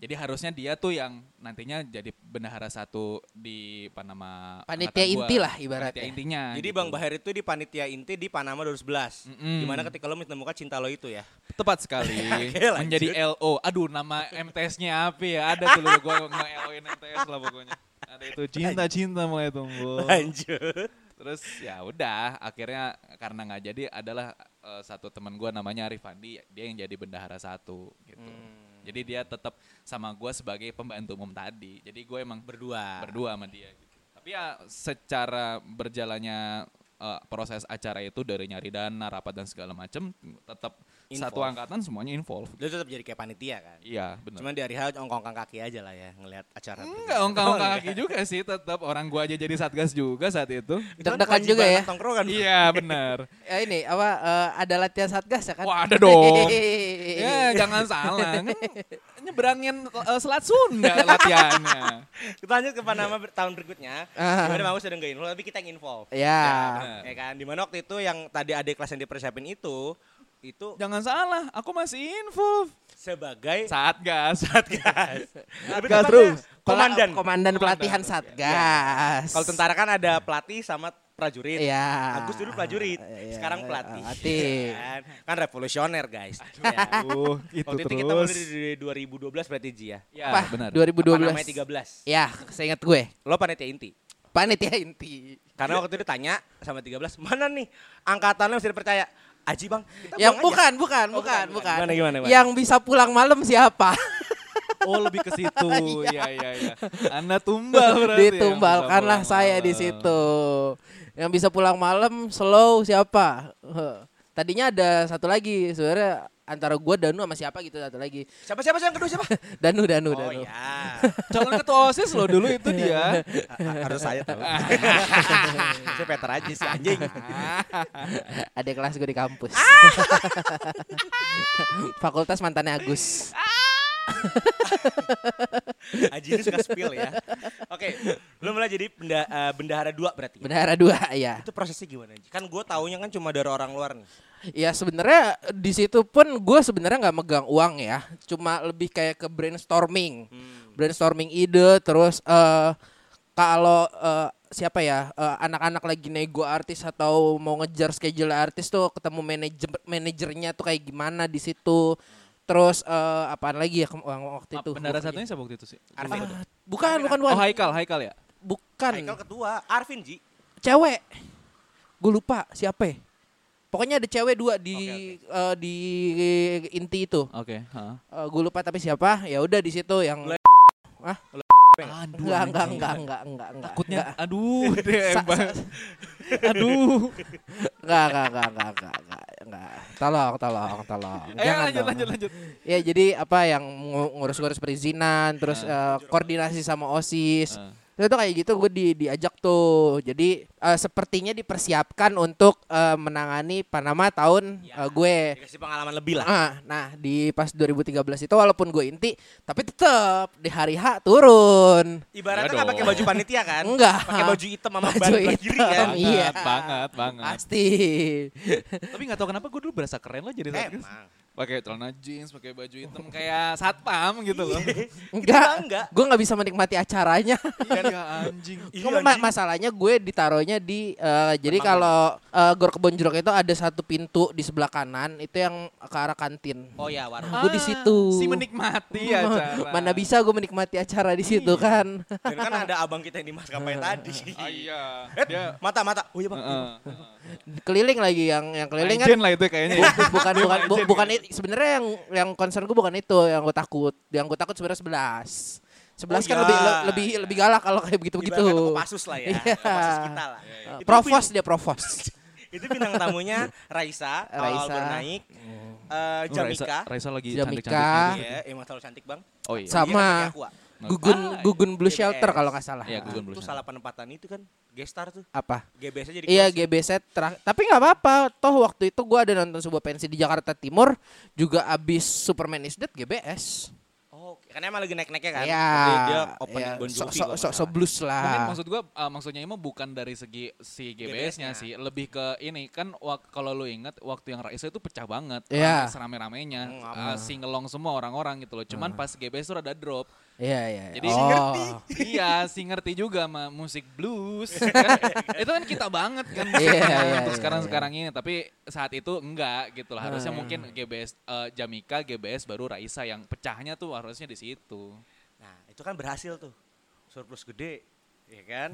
Speaker 4: Jadi harusnya dia tuh yang nantinya jadi bendahara satu di Panama.
Speaker 3: Panitia
Speaker 4: angkatan gua.
Speaker 3: inti lah ibaratnya.
Speaker 4: Panitia intinya.
Speaker 2: Jadi
Speaker 4: gitu.
Speaker 2: Bang Bahar itu di panitia inti di Panama 2011.
Speaker 4: Mm-mm.
Speaker 2: Dimana ketika lo menemukan cinta lo itu ya.
Speaker 4: tepat (laughs) sekali
Speaker 2: Oke, lanjut.
Speaker 4: menjadi LO. Aduh, nama MTS-nya apa ya? Ada tuh gue nge-LO-in MTS lah pokoknya. Ada
Speaker 2: (laughs)
Speaker 4: itu cinta-cinta mulai tumbuh.
Speaker 2: Lanjut.
Speaker 4: Terus ya udah, akhirnya karena nggak jadi adalah eh, satu teman gua namanya Rifandi, dia yang jadi bendahara satu gitu.
Speaker 2: Hmm.
Speaker 4: Jadi dia tetap sama gua sebagai pembantu umum tadi. Jadi gue emang
Speaker 2: Berdua.
Speaker 4: berdua sama dia. Gitu. Tapi ya secara berjalannya eh, proses acara itu dari nyari dana, rapat dan segala macem tetap satu
Speaker 2: Involve.
Speaker 4: angkatan semuanya involved.
Speaker 2: Lo tetap jadi kayak panitia kan.
Speaker 4: Iya benar.
Speaker 2: Cuman di hari hari ongkong kaki aja lah ya ngelihat acara.
Speaker 4: Enggak, ongkang-ongkang kaki juga sih tetap orang gua aja jadi satgas juga saat itu.
Speaker 3: Deg-degan juga ya.
Speaker 2: Tongkrongan.
Speaker 4: Iya benar.
Speaker 3: Ya ini apa eh, ada latihan satgas ya kan?
Speaker 4: Wah ada
Speaker 3: (laughs)
Speaker 4: dong. ya jangan salah. Kan nyeberangin eh, Selat Sunda (laughs) latihannya.
Speaker 2: Kita (laughs) lanjut ke Panama ber- tahun berikutnya.
Speaker 3: Ah.
Speaker 2: Dimana Magus sudah nggak involve, tapi kita yang involve.
Speaker 3: Ya.
Speaker 4: benar.
Speaker 2: Ya kan, dimana waktu itu yang tadi adik kelas yang dipersiapin itu, itu
Speaker 4: Jangan salah, aku masih involve.
Speaker 2: (laughs) sebagai
Speaker 4: Satgas.
Speaker 3: (laughs)
Speaker 2: satgas. Tapi
Speaker 3: Satgas
Speaker 2: tepatnya
Speaker 3: terus.
Speaker 2: Komandan.
Speaker 3: Komandan komandan pelatihan satgas.
Speaker 2: Kalau tentara kan ada pelatih sama prajurit.
Speaker 3: Iya.
Speaker 2: Agus dulu prajurit,
Speaker 3: Iya,
Speaker 2: sekarang
Speaker 3: iya,
Speaker 2: pelatih. (laughs)
Speaker 3: pelatih.
Speaker 2: kan? kan revolusioner guys. Ya.
Speaker 4: Aduh, itu
Speaker 2: Waktu itu kita mulai di 2012 berarti Ji ya.
Speaker 4: Ya,
Speaker 3: Apa?
Speaker 4: benar.
Speaker 3: 2012.
Speaker 2: Apa namanya 13?
Speaker 3: Ya, seingat gue.
Speaker 2: Lo panitia inti.
Speaker 3: Panitia inti.
Speaker 2: Karena waktu itu ditanya sama 13, mana nih angkatannya mesti dipercaya? Aji bang, kita
Speaker 3: Yang
Speaker 2: buang aja.
Speaker 3: bukan, bukan,
Speaker 2: Oh, bukan,
Speaker 3: bukan,
Speaker 2: bukan.
Speaker 3: bukan.
Speaker 2: Gimana, gimana, gimana?
Speaker 3: Yang bisa pulang malam
Speaker 4: (laughs)
Speaker 3: siapa?
Speaker 4: Oh, lebih ke
Speaker 3: (laughs)
Speaker 4: situ. Iya, iya, iya. Anda tumbal berarti. ya,
Speaker 3: Ditumbalkanlah
Speaker 4: bisa
Speaker 3: saya
Speaker 4: pulang
Speaker 3: di
Speaker 4: malam.
Speaker 3: situ. Yang bisa pulang malam slow siapa? (laughs) Heh. Tadinya ada satu lagi sebenarnya antara gue Danu sama siapa gitu satu lagi. (laughs)
Speaker 2: Siapa siapa sih yang kedua siapa?
Speaker 3: Danu Danu
Speaker 2: oh
Speaker 3: (laughs) Danu.
Speaker 2: ya,
Speaker 4: Calon ketua OSIS loh dulu itu
Speaker 3: Iya,
Speaker 4: dia.
Speaker 2: (laughs) harus saya (laughs) tahu. saya Peter aja sih anjing.
Speaker 3: Ada kelas gue di kampus.
Speaker 2: Ah!
Speaker 3: (laughs) Fakultas mantannya Agus.
Speaker 2: Aji ini suka spill ya. Oke, lo mulai jadi benda, eh, bendahara dua berarti. ya?
Speaker 3: Bendahara dua ya.
Speaker 2: Itu prosesnya gimana Ji? Kan gue taunya kan cuma dari orang luar nih.
Speaker 3: Ya sebenarnya di situ pun gue sebenarnya nggak megang uang ya, cuma lebih kayak ke brainstorming,
Speaker 4: Hmm.
Speaker 3: brainstorming ide, terus eh kalau eh, siapa ya eh, anak-anak lagi nego artis atau mau ngejar schedule artis tuh ketemu manajer manajernya tuh kayak gimana di situ, terus eh apaan lagi ya ke- waktu itu?
Speaker 4: Bendara satunya siapa waktu itu sih?
Speaker 2: Arvin.
Speaker 3: Ah, bukan bukan bukan
Speaker 4: Oh, Haikal, Haikal ya?
Speaker 3: bukan
Speaker 2: Haikal ketua, Arvin Ji.
Speaker 3: cewek gue lupa siapa ya. pokoknya ada cewek dua di eh, di inti itu
Speaker 4: Oke, heeh.
Speaker 3: gue lupa tapi siapa ya udah di situ yang
Speaker 2: Le-
Speaker 3: ah
Speaker 4: Aduh,
Speaker 3: enggak enggak
Speaker 4: anjing.
Speaker 3: enggak enggak enggak enggak
Speaker 4: Takutnya,
Speaker 3: enggak
Speaker 4: aduh, deh,
Speaker 3: Sa-
Speaker 4: Bang. aduh.
Speaker 3: enggak enggak enggak enggak enggak enggak enggak tolong tolong tolong
Speaker 4: Ayo
Speaker 3: Jangan
Speaker 4: Eh, lanjut,
Speaker 3: dong.
Speaker 4: lanjut, lanjut.
Speaker 3: ya jadi apa yang ngu- ngurus-ngurus perizinan terus eh, koordinasi sama osis
Speaker 4: Ah.
Speaker 3: Terus itu kayak gitu gue di, diajak tuh. Jadi eh, sepertinya dipersiapkan untuk eh, menangani Panama tahun eh, gue.
Speaker 2: Dikasih pengalaman lebih lah.
Speaker 3: Ah, nah di pas 2013 itu walaupun gue inti tapi tetap di hari H turun.
Speaker 2: Ibaratnya
Speaker 4: Enggak
Speaker 2: nggak pakai
Speaker 4: dong.
Speaker 2: baju panitia kan?
Speaker 3: Enggak.
Speaker 2: Pakai baju hitam sama
Speaker 3: Baju
Speaker 2: baju kiri
Speaker 3: hitam.
Speaker 2: kan?
Speaker 3: Iya.
Speaker 4: Banget, banget, banget.
Speaker 3: Pasti.
Speaker 4: Tapi nggak tahu kenapa gue dulu berasa keren loh jadi
Speaker 2: Eh,
Speaker 4: satgas.
Speaker 2: Emang.
Speaker 4: pakai celana jeans, pakai baju hitam kayak satpam gitu loh.
Speaker 3: Enggak,
Speaker 2: enggak.
Speaker 3: gue nggak bisa menikmati acaranya. (laughs)
Speaker 4: iya anjing.
Speaker 2: Iya,
Speaker 3: Cuma ma-
Speaker 2: anjing.
Speaker 3: masalahnya gue ditaruhnya di eh, jadi kalau eh, gor kebon jeruk itu ada satu pintu di sebelah kanan itu yang ke arah kantin.
Speaker 2: Oh ya warung.
Speaker 3: Gue di situ.
Speaker 4: Si (laughs) menikmati acara.
Speaker 3: (laughs) Mana bisa gue menikmati acara di situ kan? (laughs)
Speaker 2: Dan kan ada abang kita yang di maskapai tadi.
Speaker 4: Ah, iya.
Speaker 2: Eh,
Speaker 4: Dia
Speaker 2: mata mata. Oh iya bang.
Speaker 4: Heeh.
Speaker 3: keliling lagi yang yang keliling kan
Speaker 4: Legend lah itu kayaknya. ya.
Speaker 3: Bu- bukan
Speaker 4: Dia
Speaker 3: bukan bu-
Speaker 4: legend
Speaker 3: bukan
Speaker 4: ya.
Speaker 3: i- sebenarnya yang yang concern gue bukan itu yang gue takut yang gue takut sebenarnya sebelas sebelas
Speaker 2: Oh
Speaker 3: kan
Speaker 2: iya,
Speaker 3: lebih le- lebih
Speaker 2: iya.
Speaker 3: lebih galak kalau kayak begitu begitu
Speaker 2: Ibaratnya toko pasus lah ya.
Speaker 3: Iya.
Speaker 2: Toko pasus kita lah. Itu
Speaker 3: provos dia provos
Speaker 2: bin- Itu bintang tamunya Raisa, awal
Speaker 3: Raisa.
Speaker 2: bernaik. Eh,
Speaker 4: Oh,
Speaker 2: Jamika.
Speaker 4: Raisa, Raisa lagi
Speaker 3: Jamika.
Speaker 4: cantik-cantiknya. gitu.
Speaker 2: Iya, emang terlalu cantik bang.
Speaker 4: Oh iya.
Speaker 3: Sa- Sama.
Speaker 2: Iya, kan pakai aqua.
Speaker 3: gugun
Speaker 4: Ah,
Speaker 3: gugun blue
Speaker 2: GBS.
Speaker 3: shelter kalau nggak salah
Speaker 4: Iya, Gugun. Belum
Speaker 2: Itu
Speaker 4: sana.
Speaker 2: salah penempatan itu kan. Gestar tuh.
Speaker 3: apa
Speaker 2: GBS jadi
Speaker 3: Iya
Speaker 2: close.
Speaker 3: GBZ terakhir. Tapi nggak apa-apa. Toh waktu itu gua ada nonton sebuah pensi di Jakarta Timur juga abis Superman is Dead GBS.
Speaker 2: Oh, oke. karena emang lagi naik-naiknya kan.
Speaker 3: Iya.
Speaker 2: Dia- Dia open
Speaker 3: iya.
Speaker 2: Bon Jovi.
Speaker 3: Sok-
Speaker 2: kalau
Speaker 3: sok-
Speaker 2: nggak
Speaker 3: sok- sok
Speaker 2: salah.
Speaker 3: blues
Speaker 4: Mungkin
Speaker 3: lah.
Speaker 4: maksud gua eh, maksudnya emang bukan dari segi si
Speaker 2: GBS-nya.
Speaker 4: GBS-nya sih, lebih ke ini kan wak- kalau lu ingat waktu yang Raisa itu pecah banget,
Speaker 3: Iya.
Speaker 4: rame- serame-ramenya,
Speaker 2: Hmm,
Speaker 4: eh, singelong semua orang-orang gitu loh. Cuman pas GBS tuh rada drop.
Speaker 3: Iya iya.
Speaker 4: Jadi
Speaker 3: oh.
Speaker 4: sih ngerti. iya, sih ngerti juga sama musik (laughs) blues. kan. Itu kan kita banget kan musik
Speaker 3: Iya,
Speaker 4: yang
Speaker 3: iya,
Speaker 4: untuk
Speaker 3: iya,
Speaker 4: sekarang-sekarang ini, tapi saat itu enggak gitu lah. Harusnya
Speaker 3: Hmm.
Speaker 4: mungkin GBS eh, Jamika, GBS baru Raisa yang pecahnya tuh harusnya di situ.
Speaker 2: Nah, itu kan berhasil tuh. Surplus gede, ya kan?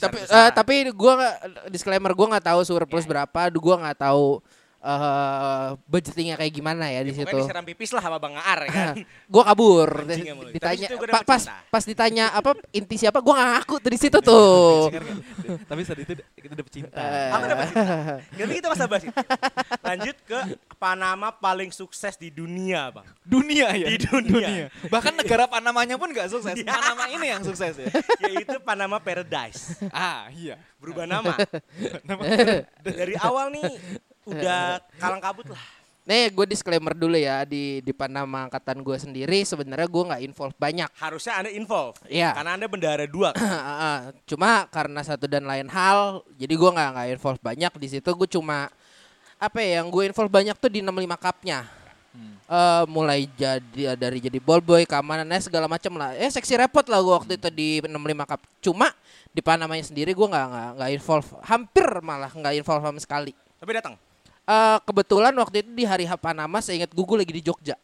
Speaker 3: Tapi
Speaker 2: Besar-besaran.
Speaker 3: eh, tapi gua nggak disclaimer gua nggak tahu
Speaker 2: Iya.
Speaker 3: surplus berapa. Gua nggak tahu eh budgetingnya kayak gimana ya di
Speaker 2: Iya, Pokoknya
Speaker 3: situ. (laughs)
Speaker 2: diserang pipis lah sama Bang Aar ya kan.
Speaker 3: Gua kabur.
Speaker 2: Anjing emang lu. Tapi
Speaker 3: Ditanya
Speaker 2: situ gua
Speaker 3: pa-
Speaker 2: dapet
Speaker 3: pas
Speaker 2: cinta.
Speaker 3: pas ditanya apa inti siapa gua nggak ngaku tuh di situ tuh.
Speaker 4: (laughs)
Speaker 2: Iya,
Speaker 4: Tapi saat itu kita dapet cinta.
Speaker 2: Aku dapat cerita. Nanti kita bahas bahas itu. Lanjut ke Panama paling sukses di dunia, Bang.
Speaker 4: dunia Iya. ya
Speaker 2: Di dunia.
Speaker 4: bahkan negara Panamanya pun nggak sukses Panama ini yang sukses ya
Speaker 2: Yaitu Panama Paradise.
Speaker 4: ah iya
Speaker 2: Berubah nama. Dari awal nih udah kalang kabut lah.
Speaker 3: Nih gue disclaimer dulu ya di di Panama angkatan gue sendiri sebenarnya gue nggak involve banyak. (clears throat)
Speaker 2: Harusnya Anda involve.
Speaker 3: Iya.
Speaker 2: Karena Anda bendahara dua. kan?
Speaker 3: ah. cuma karena satu dan lain hal jadi gue nggak nggak involve banyak di situ gue cuma apa ya yang gue involve banyak tuh di 65 cupnya. Eh, mulai jadi dari jadi ball boy keamanannya segala macam lah eh seksi repot lah gue waktu itu di 65 cup cuma di Panamanya sendiri gue nggak nggak nggak involve hampir malah nggak involve sama sekali
Speaker 2: Tapi datang.
Speaker 3: Eh, kebetulan waktu itu di hari H Panama seingat gue gue lagi di Jogja.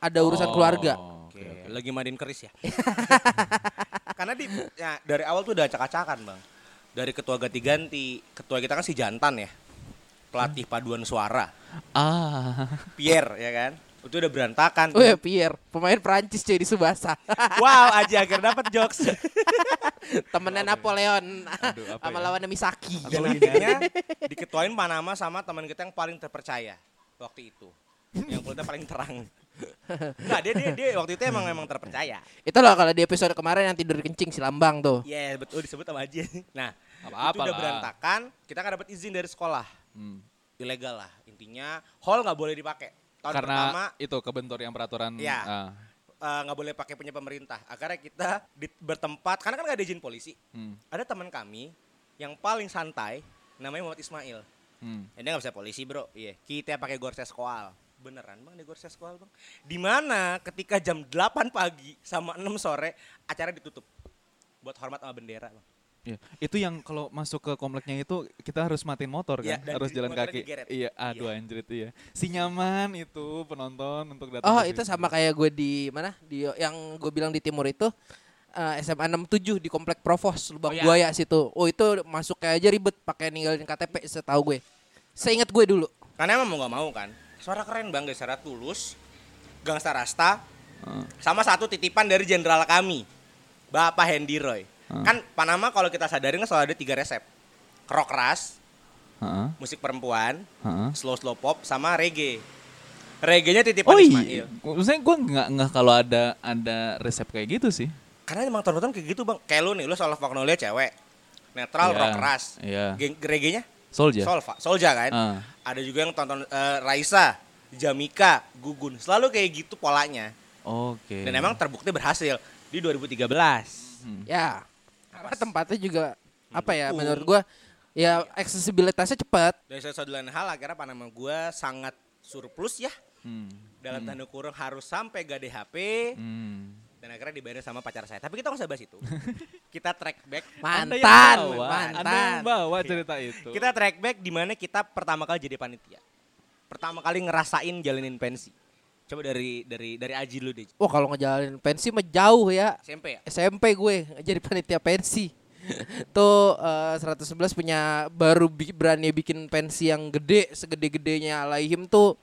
Speaker 3: Ada urusan keluarga.
Speaker 2: Oke, lagi mainin keris ya. (laughs) Karena di ya, dari awal tuh udah acak-acakan, Bang. Dari ketua ganti-ganti, ketua kita kan si Jantan ya. Pelatih paduan suara,
Speaker 4: (laughs) ah
Speaker 2: Pierre ya kan. Itu udah berantakan.
Speaker 3: Oh ya Pierre, pemain Prancis jadi Subasa. (laughs)
Speaker 2: wow, aja akhirnya dapat jokes.
Speaker 3: Temennya Napoleon
Speaker 4: Aduh, apa
Speaker 3: (laughs) sama
Speaker 4: ya?
Speaker 3: lawannya Misaki.
Speaker 2: Dan
Speaker 3: (laughs)
Speaker 2: akhirnya diketuain Panama sama teman kita yang paling terpercaya waktu itu. Yang kulitnya paling terang. Enggak, dia, dia dia waktu itu emang emang terpercaya.
Speaker 3: Itu loh kalau di episode kemarin yang tidur kencing si Lambang tuh.
Speaker 2: Iya, betul disebut sama Haji. Nah,
Speaker 4: Apa-apa
Speaker 2: itu udah
Speaker 4: lah.
Speaker 2: berantakan, kita nggak dapat izin dari sekolah.
Speaker 4: Hmm.
Speaker 2: Ilegal lah. Intinya hall nggak boleh dipakai. Tahun
Speaker 4: karena
Speaker 2: pertama
Speaker 4: itu kebentur yang peraturan
Speaker 2: Iya.
Speaker 4: ah.
Speaker 2: eh, nggak boleh pakai punya pemerintah. Akhirnya kita di- bertempat karena kan nggak ada izin polisi.
Speaker 4: Hmm,
Speaker 2: Ada teman kami yang paling santai namanya Muhammad Ismail.
Speaker 4: hmm.
Speaker 2: Ya, dia nggak bisa polisi bro, iya. Kita pakai gorses koal. Beneran bang, di gorses koal bang. Di mana ketika jam 8 pagi sama 6 sore acara ditutup buat hormat sama bendera bang.
Speaker 4: Iya. itu yang kalau masuk ke kompleknya itu kita harus matiin motor
Speaker 2: Iya,
Speaker 4: kan
Speaker 2: dan
Speaker 4: harus
Speaker 2: di-
Speaker 4: jalan
Speaker 2: motornya
Speaker 4: kaki
Speaker 2: digeret.
Speaker 4: iya aduh
Speaker 2: Iya.
Speaker 4: anjir itu ya si nyaman itu penonton untuk datang
Speaker 3: Oh
Speaker 4: ke
Speaker 3: itu
Speaker 4: situ.
Speaker 3: sama kayak gue di mana? Di yang gue bilang di timur itu eh, SMA 67 di komplek Provos
Speaker 2: Oh,
Speaker 3: Lubang
Speaker 2: iya.
Speaker 3: Buaya situ. Oh itu masuk kayak aja ribet pakai ninggalin KTP setahu gue. Seingat gue dulu.
Speaker 2: Karena emang mau nggak mau kan. Suara keren bang, dari suara tulus, gangsta rasta,
Speaker 4: Ah,
Speaker 2: sama satu titipan dari jenderal kami, Bapak Hendy Roy.
Speaker 4: Hmm.
Speaker 2: Kan Panama kalau kita sadarin kan selalu ada tiga resep. Rock ras,
Speaker 4: ah,
Speaker 2: musik perempuan,
Speaker 4: ah.
Speaker 2: slow slow pop, sama reggae. Reggae-nya titipan
Speaker 4: oh
Speaker 2: Ismail.
Speaker 4: iya maksudnya gue nggak nggak kalau ada ada resep kayak gitu sih
Speaker 2: Karena emang tahun kayak gitu bang. Kayak lu nih, lu Solva Magnolia cewek. Netral,
Speaker 4: Iya,
Speaker 2: rock ras.
Speaker 4: iya.
Speaker 2: Geng- Reggae-nya?
Speaker 4: Soldier
Speaker 2: Solva, Solja kan?
Speaker 4: Ah.
Speaker 2: Ada juga yang tonton eh, Raisa, Jamika, Gugun. Selalu kayak gitu polanya.
Speaker 4: oke
Speaker 2: Dan emang terbukti berhasil di 2013.
Speaker 3: Ya. Karena tempatnya juga apa ya
Speaker 2: Mendukung.
Speaker 3: menurut gua ya aksesibilitasnya cepat.
Speaker 2: Dari satu satu lain hal akhirnya Panama gue sangat surplus ya.
Speaker 4: Hmm.
Speaker 2: dalam
Speaker 4: Hmm.
Speaker 2: tanda kurung harus sampai gade HP
Speaker 4: Hmm.
Speaker 2: dan akhirnya dibayarin sama pacar saya. Tapi kita nggak usah bahas (laughs) itu. kita track back.
Speaker 4: Anda yang
Speaker 3: Mantan,
Speaker 4: bawa, Anda
Speaker 3: mantan.
Speaker 4: yang bawa cerita itu.
Speaker 2: Kita track back di mana kita pertama kali jadi panitia. Pertama kali ngerasain jalanin pensi. Coba dari dari dari Aji dulu deh.
Speaker 3: Wah kalau ngejalanin pensi mah jauh ya.
Speaker 2: SMP ya?
Speaker 3: SMP gue jadi panitia pensi. (laughs) Tuh eh, 111 punya baru bi- berani bikin pensi yang gede segede-gedenya Alaihim tuh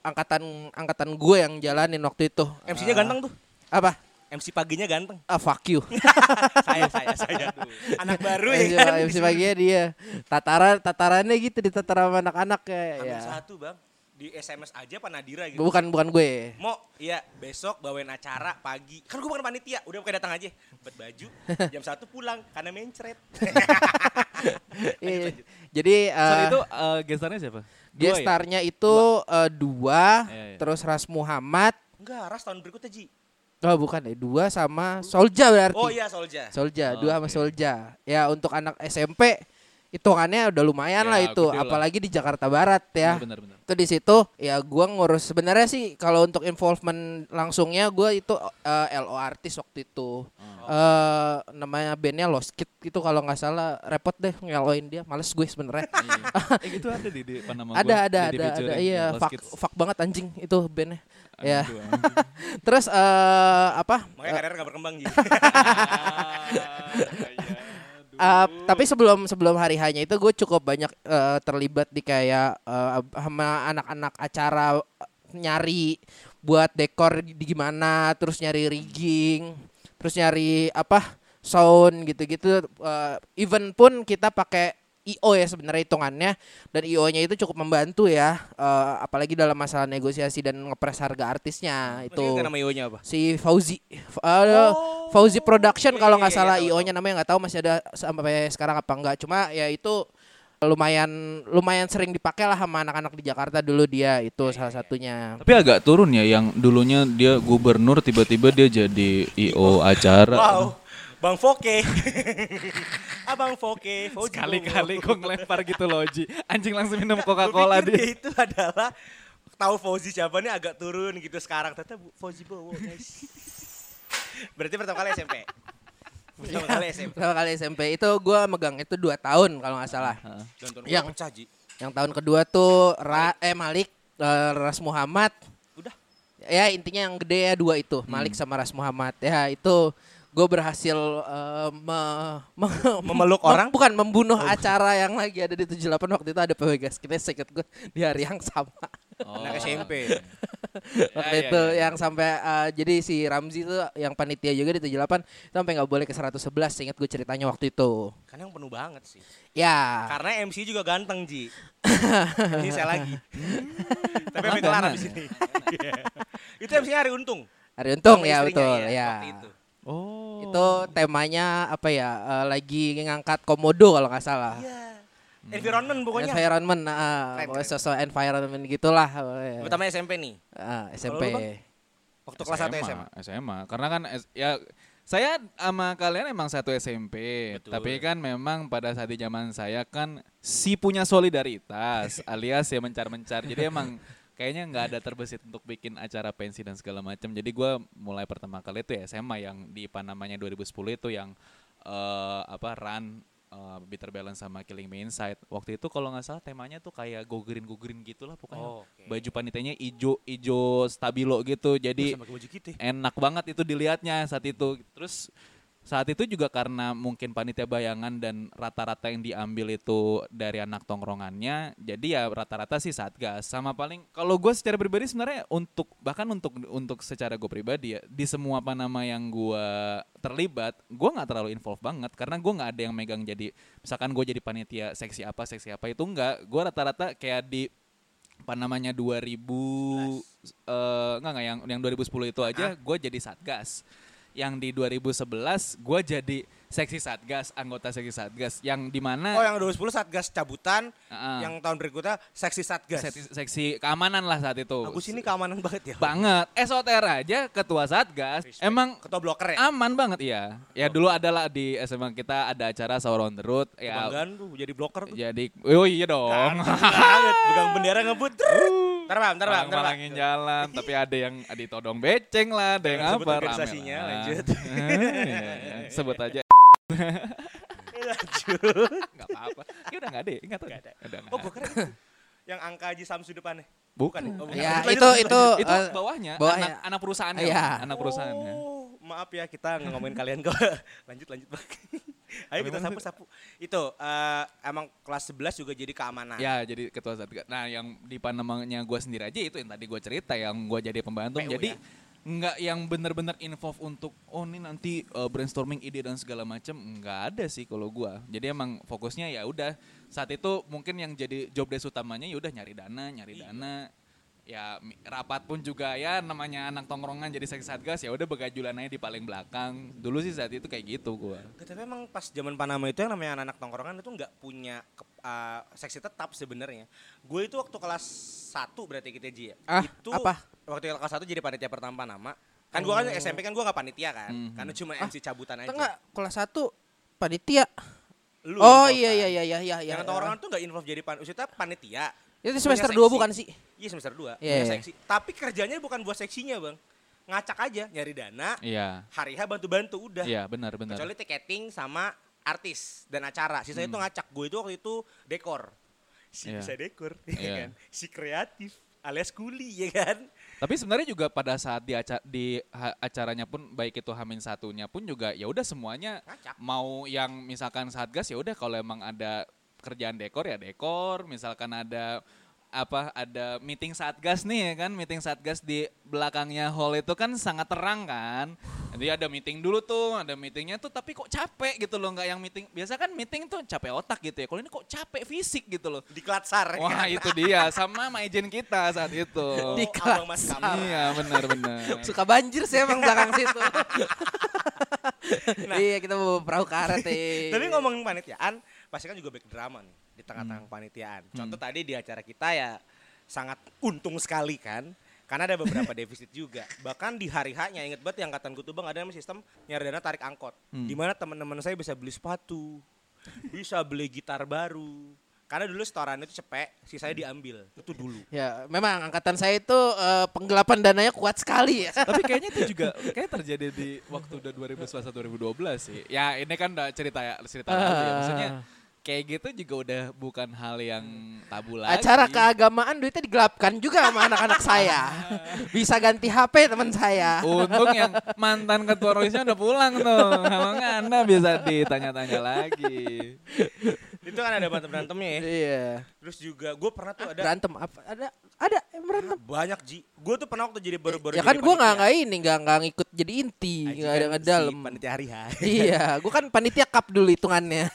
Speaker 3: angkatan angkatan gue yang jalanin waktu itu.
Speaker 2: MC-nya
Speaker 3: Eh,
Speaker 2: ganteng tuh.
Speaker 3: Apa?
Speaker 2: MC paginya ganteng.
Speaker 3: Ah fuck you.
Speaker 2: (laughs) saya saya saya. Anak (laughs) baru ya
Speaker 3: MC,
Speaker 2: kan.
Speaker 3: MC paginya dia. Tataran tatarannya gitu di tataran sama anak-anak ya.
Speaker 2: Hamin
Speaker 3: ya.
Speaker 2: satu bang. Di SMS aja Pak Nadira gitu.
Speaker 3: Bukan bukan gue.
Speaker 2: Mo, iya besok bawain acara pagi. Kan gue bukan panitia, udah pakai datang aja. Bet baju, jam satu pulang karena mencret.
Speaker 3: Iya. Jadi
Speaker 4: Saat
Speaker 3: eh,
Speaker 4: itu eh, gesternya siapa? Dua ya?
Speaker 3: gestarnya itu eh, dua,
Speaker 4: Iya, iya.
Speaker 3: terus Ras Muhammad.
Speaker 2: Enggak, Ras tahun berikutnya Ji.
Speaker 3: Oh bukan ya, dua sama Solja berarti.
Speaker 2: Oh iya Solja.
Speaker 3: Solja,
Speaker 4: Oh,
Speaker 3: dua sama
Speaker 4: oke.
Speaker 3: Solja. Ya untuk anak SMP hitungannya udah lumayan
Speaker 4: Ya,
Speaker 3: lah itu,
Speaker 4: gede lah. Iya,
Speaker 3: apalagi di Jakarta Barat ya.
Speaker 4: Benar, benar.
Speaker 3: Itu di situ ya gua ngurus sebenarnya sih kalau untuk involvement langsungnya gua itu eh, LO artis waktu itu.
Speaker 4: Oh.
Speaker 3: eh namanya bandnya Lost Kid itu kalau nggak salah repot deh ngeloin dia, males gue sebenarnya.
Speaker 4: eh, gitu ada di, di Panama
Speaker 3: ada ada ada ada iya fuck, fuck banget anjing itu bandnya ya (laughs) terus eh apa
Speaker 2: Makanya karirnya gak berkembang Ji.
Speaker 3: Eh, tapi sebelum sebelum hari hanya itu gue cukup banyak eh, terlibat di kayak eh, sama anak-anak acara eh, nyari buat dekor di gimana terus nyari rigging terus nyari apa sound gitu-gitu Eh, event pun kita pakai IO ya sebenarnya hitungannya dan IO-nya itu cukup membantu ya eh, apalagi dalam masalah negosiasi dan ngepres harga artisnya itu
Speaker 2: Itu nama io apa?
Speaker 3: si Fauzi F- uh, Fauzi Production
Speaker 2: iya, iya,
Speaker 3: kalau nggak
Speaker 2: iya,
Speaker 3: salah
Speaker 2: tahu,
Speaker 3: IO-nya namanya nggak tahu masih ada sampai sekarang apa enggak cuma ya itu lumayan lumayan sering dipakai lah sama anak-anak di Jakarta dulu dia itu
Speaker 2: Iya,
Speaker 3: salah satunya
Speaker 4: Tapi agak turun ya yang dulunya dia gubernur tiba-tiba dia jadi IO acara.
Speaker 2: Wow. Bang Foke. (laughs) Abang Foke. Fauzi
Speaker 4: Kali-kali gue ngelempar gitu loh Ji. Anjing langsung
Speaker 2: (laughs)
Speaker 4: minum
Speaker 2: Gua
Speaker 4: Coca-Cola
Speaker 2: pikir
Speaker 4: dia.
Speaker 2: dia itu adalah tahu Fauzi siapa nih agak turun gitu sekarang. Ternyata Bu- Fauzi Bowo guys. Berarti pertama kali SMP. Pertama kali SMP.
Speaker 3: pertama kali SMP itu gua megang itu dua tahun kalau nggak salah
Speaker 4: Heeh.
Speaker 2: Dan tahun
Speaker 3: Yang-
Speaker 2: gua pecah Ji.
Speaker 3: yang tahun kedua tuh Ra- eh Malik eh, Ras Muhammad
Speaker 2: Udah.
Speaker 3: ya intinya yang gede ya dua
Speaker 2: Hmm.
Speaker 3: itu Malik sama Ras Muhammad ya itu gue berhasil eh, me- me-
Speaker 2: (laughs) Memeluk
Speaker 3: me-
Speaker 2: orang? Oh, iya.
Speaker 3: bukan membunuh acara yang lagi ada di 78 waktu itu ada PW Gas kita seket gue di hari yang sama
Speaker 4: Oh.
Speaker 2: Anak SMP.
Speaker 3: (laughs) waktu
Speaker 4: ya,
Speaker 3: itu
Speaker 4: ya, ya.
Speaker 3: yang sampai eh, jadi si Ramzi tuh yang panitia juga di 78 sampai nggak boleh ke 111 ingat gue ceritanya waktu itu
Speaker 2: Karena yang penuh banget sih.
Speaker 3: ya
Speaker 2: Karena MC juga ganteng Ji. Ini saya lagi. Tapi MC kelar abis ini. (laughs) Iya. Itu MC hari untung.
Speaker 3: hari untung
Speaker 2: Sama
Speaker 3: ya
Speaker 2: istrinya,
Speaker 3: betul
Speaker 2: waktu
Speaker 3: ya
Speaker 2: itu.
Speaker 4: Oh.
Speaker 3: itu temanya apa ya eh, lagi ngangkat komodo kalau nggak salah
Speaker 2: Iya. Environment
Speaker 3: Ya,
Speaker 2: pokoknya.
Speaker 3: environment ah,
Speaker 2: Keren,
Speaker 3: pokoknya
Speaker 2: keren.
Speaker 3: sosok environment gitulah pokoknya.
Speaker 2: Pertama SMP nih.
Speaker 3: Ah,
Speaker 2: Kalau lu, Bang?
Speaker 3: SMP
Speaker 2: Waktu gitu. kelas 1 SMA.
Speaker 4: SMA. Karena kan S- ya saya sama kalian emang satu SMP,
Speaker 2: Betul.
Speaker 4: tapi kan memang pada saat di zaman saya kan si punya
Speaker 2: (laughs)
Speaker 4: solidaritas, alias ya mencar-mencar. Jadi emang kayaknya nggak ada terbesit untuk bikin acara pensi dan segala macam. Jadi gua mulai pertama kali itu ya SMA yang di Panamanya 2010 itu yang eh, apa run eh, Bitter Balance sama Killing Me Inside. Waktu itu kalau nggak salah temanya tuh kayak go green go green gitulah pokoknya.
Speaker 2: Oh, oke.
Speaker 4: Baju panitianya ijo ijo stabilo gitu. Jadi
Speaker 2: Sama baju kita.
Speaker 4: enak banget itu dilihatnya saat itu. Terus saat itu juga karena mungkin panitia bayangan dan rata-rata yang diambil itu dari anak tongkrongannya, jadi ya rata-rata sih satgas sama paling kalau gue secara pribadi sebenarnya untuk bahkan untuk untuk secara gue pribadi ya di semua apa nama yang gue terlibat, gue nggak terlalu involve banget karena gue nggak ada yang megang jadi misalkan gue jadi panitia seksi apa seksi apa itu nggak, gue rata-rata kayak di apa namanya 2000 eh enggak enggak yang yang 2010 itu
Speaker 2: Ah.
Speaker 4: aja gue jadi satgas yang di 2011 gue jadi seksi satgas anggota seksi satgas yang di mana
Speaker 2: Oh yang 2010 Satgas cabutan,
Speaker 4: Ah.
Speaker 2: yang tahun berikutnya Seksi Satgas.
Speaker 4: seksi, seksi keamanan lah saat itu
Speaker 2: Agus ini keamanan banget ya.
Speaker 4: banget SOTR aja ketua satgas emang
Speaker 2: Ketua bloker ya.
Speaker 4: aman banget iya ya dulu adalah di SMA kita ada acara sahur on the road ya
Speaker 2: Kebanggaan tuh jadi bloker tuh.
Speaker 4: jadi oh iya dong (laughs)
Speaker 2: Banget, pegang bendera ngebut. trrrt. Bentar, Pak, bentar, Pak, bentar, Pak.
Speaker 4: Malang-malangin jalan, tapi ada yang ditodong beceng lah, ada yang
Speaker 2: Jangan sebut
Speaker 4: apa, rame
Speaker 2: organisasinya,
Speaker 4: lah. (laughs)
Speaker 2: lanjut.
Speaker 4: Iya, iya. Sebut
Speaker 2: (laughs)
Speaker 4: aja.
Speaker 2: Lanjut.
Speaker 4: Enggak apa-apa. Ya udah enggak ada, ya? ingat ada. Udah nggak
Speaker 2: Oh, gue
Speaker 4: ada.
Speaker 2: kira yang angka Haji Samsu depannya.
Speaker 4: bukan.
Speaker 2: Oh, bukan.
Speaker 3: Ya,
Speaker 2: Lanjut,
Speaker 3: itu
Speaker 2: lanjut,
Speaker 3: itu
Speaker 2: lanjut.
Speaker 4: Itu
Speaker 3: eh,
Speaker 4: bawahnya,
Speaker 3: bawahnya.
Speaker 4: anak, anak perusahaannya.
Speaker 3: Iya.
Speaker 4: Bang. Anak perusahaannya.
Speaker 2: Oh, maaf ya kita nggak ngomongin kalian kok. (laughs) Lanjut lanjut bang. Ayo kita
Speaker 4: Memang
Speaker 2: sapu sapu. Itu eh, emang kelas 11 juga jadi keamanan.
Speaker 4: Ya jadi ketua satgas. Nah yang di Panemangnya gue sendiri aja itu yang tadi gue cerita yang gue jadi pembantu.
Speaker 2: PU
Speaker 4: jadi
Speaker 2: ya?
Speaker 4: nggak yang bener-bener involve untuk oh ini nanti uh, brainstorming ide dan segala macam nggak ada sih kalau gue. Jadi emang fokusnya ya udah saat itu mungkin yang jadi job desk utamanya ya udah nyari dana, nyari
Speaker 2: Iya.
Speaker 4: dana. Ya mi- rapat pun juga ya namanya anak tongkrongan jadi seksi satgas ya udah begajulannya di paling belakang. Dulu sih saat itu kayak gitu gue.
Speaker 2: Tapi emang pas zaman Panama itu yang namanya anak-anak tongkrongan itu nggak punya ke- eh, seksi tetap sebenarnya. Gue itu waktu kelas 1 berarti kita Ji ya.
Speaker 3: Ah,
Speaker 2: itu
Speaker 3: apa? Oh.
Speaker 2: waktu kelas 1 jadi panitia pertama Panama. Kan gue kan SMP kan gue gak panitia kan.
Speaker 3: Hmm,
Speaker 4: Mhm.
Speaker 2: Karena cuma
Speaker 3: Ah,
Speaker 2: MC cabutan aja.
Speaker 3: Tengah kelas 1 panitia.
Speaker 2: Lu
Speaker 3: oh
Speaker 2: involve
Speaker 3: iya
Speaker 2: kan.
Speaker 3: iya iya iya iya.
Speaker 2: Yang
Speaker 3: iya.
Speaker 2: tongkrongan tuh nggak involve jadi pan maksudnya panitia.
Speaker 3: Itu
Speaker 2: punya
Speaker 3: semester 2
Speaker 2: seksi.
Speaker 3: bukan sih?
Speaker 2: Iya semester 2,
Speaker 3: Iya, iya.
Speaker 2: seksi. Tapi kerjanya bukan buat seksinya, Bang. Ngacak aja, nyari dana,
Speaker 4: Iya.
Speaker 2: hari H bantu-bantu udah.
Speaker 4: Iya benar-benar.
Speaker 2: Kecuali tiketing sama artis dan acara. Sisanya itu ngacak. Gue itu waktu itu dekor. Si
Speaker 4: Hmm. Iya.
Speaker 2: bisa dekor, (laughs)
Speaker 4: Iya.
Speaker 2: ya kan? Si kreatif alias kuli, ya kan?
Speaker 4: Tapi sebenarnya juga pada saat di, aca- di ha- acaranya pun baik itu Hamin satunya pun juga ya udah semuanya
Speaker 2: Ngacak.
Speaker 4: mau yang misalkan Satgas ya udah kalau emang ada kerjaan dekor ya dekor, misalkan ada apa ada meeting Satgas nih ya kan, meeting Satgas di belakangnya hall itu kan sangat terang kan. Jadi ada meeting dulu tuh, ada meetingnya tuh tapi kok capek gitu loh nggak yang meeting. Biasa kan meeting tuh capek otak gitu ya. Kalau ini kok capek fisik gitu loh.
Speaker 2: Di klatsar. ya kan?
Speaker 4: Wah itu dia sama majen kita saat itu.
Speaker 2: Oh,
Speaker 3: Di
Speaker 2: abang mas
Speaker 3: klatsar.
Speaker 2: kamu.
Speaker 4: Iya benar-benar. (laughs)
Speaker 3: Suka banjir sih emang belakang situ.
Speaker 2: (laughs) Nah.
Speaker 3: iya kita mau perahu karet eh.
Speaker 2: Tapi ngomongin panitiaan, pasti kan juga back drama nih di tengah-tengah
Speaker 3: Hmm.
Speaker 2: panitiaan. Contoh tadi di acara kita ya sangat untung sekali kan. Karena ada
Speaker 3: (laughs)
Speaker 2: beberapa defisit juga. Bahkan di hari haknya inget banget yang angkatan gue tuh bang ada namanya sistem nyari dana tarik angkot.
Speaker 4: Hmm.
Speaker 2: Di mana teman-teman saya bisa beli sepatu, bisa beli gitar baru. Karena dulu setorannya itu cepek, sisanya
Speaker 3: Hmm.
Speaker 2: diambil. Itu
Speaker 3: (laughs)
Speaker 2: dulu.
Speaker 3: Ya, memang angkatan saya itu eh, penggelapan dananya kuat sekali ya.
Speaker 4: Tapi kayaknya itu juga kayak terjadi di waktu udah 2011 2012 sih. Ya ini kan udah cerita ya cerita lalu ya. Maksudnya kayak gitu juga udah bukan hal yang tabu lagi.
Speaker 3: Acara keagamaan duitnya digelapkan juga sama anak-anak
Speaker 2: (laughs)
Speaker 3: saya. Bisa ganti HP teman saya.
Speaker 2: Oh.
Speaker 4: Untung yang mantan ketua roisnya udah pulang tuh. Kalau nggak anda bisa ditanya-tanya lagi.
Speaker 2: Itu kan ada berantem-berantemnya ya.
Speaker 3: Iya.
Speaker 2: Terus juga gue pernah tuh ada
Speaker 3: Berantem apa? Ada ada yang berantem.
Speaker 2: banyak Ji. Gue tuh pernah waktu jadi baru-baru
Speaker 3: ya
Speaker 2: jadi
Speaker 3: kan gue nggak
Speaker 2: panitia.
Speaker 3: nggak ini nggak nggak ngikut jadi inti
Speaker 2: Aji
Speaker 3: nggak ada
Speaker 2: kan
Speaker 3: nggak dalam.
Speaker 2: Si panitia hari ha.
Speaker 3: iya, gue kan panitia cup dulu
Speaker 2: (laughs)
Speaker 3: hitungannya.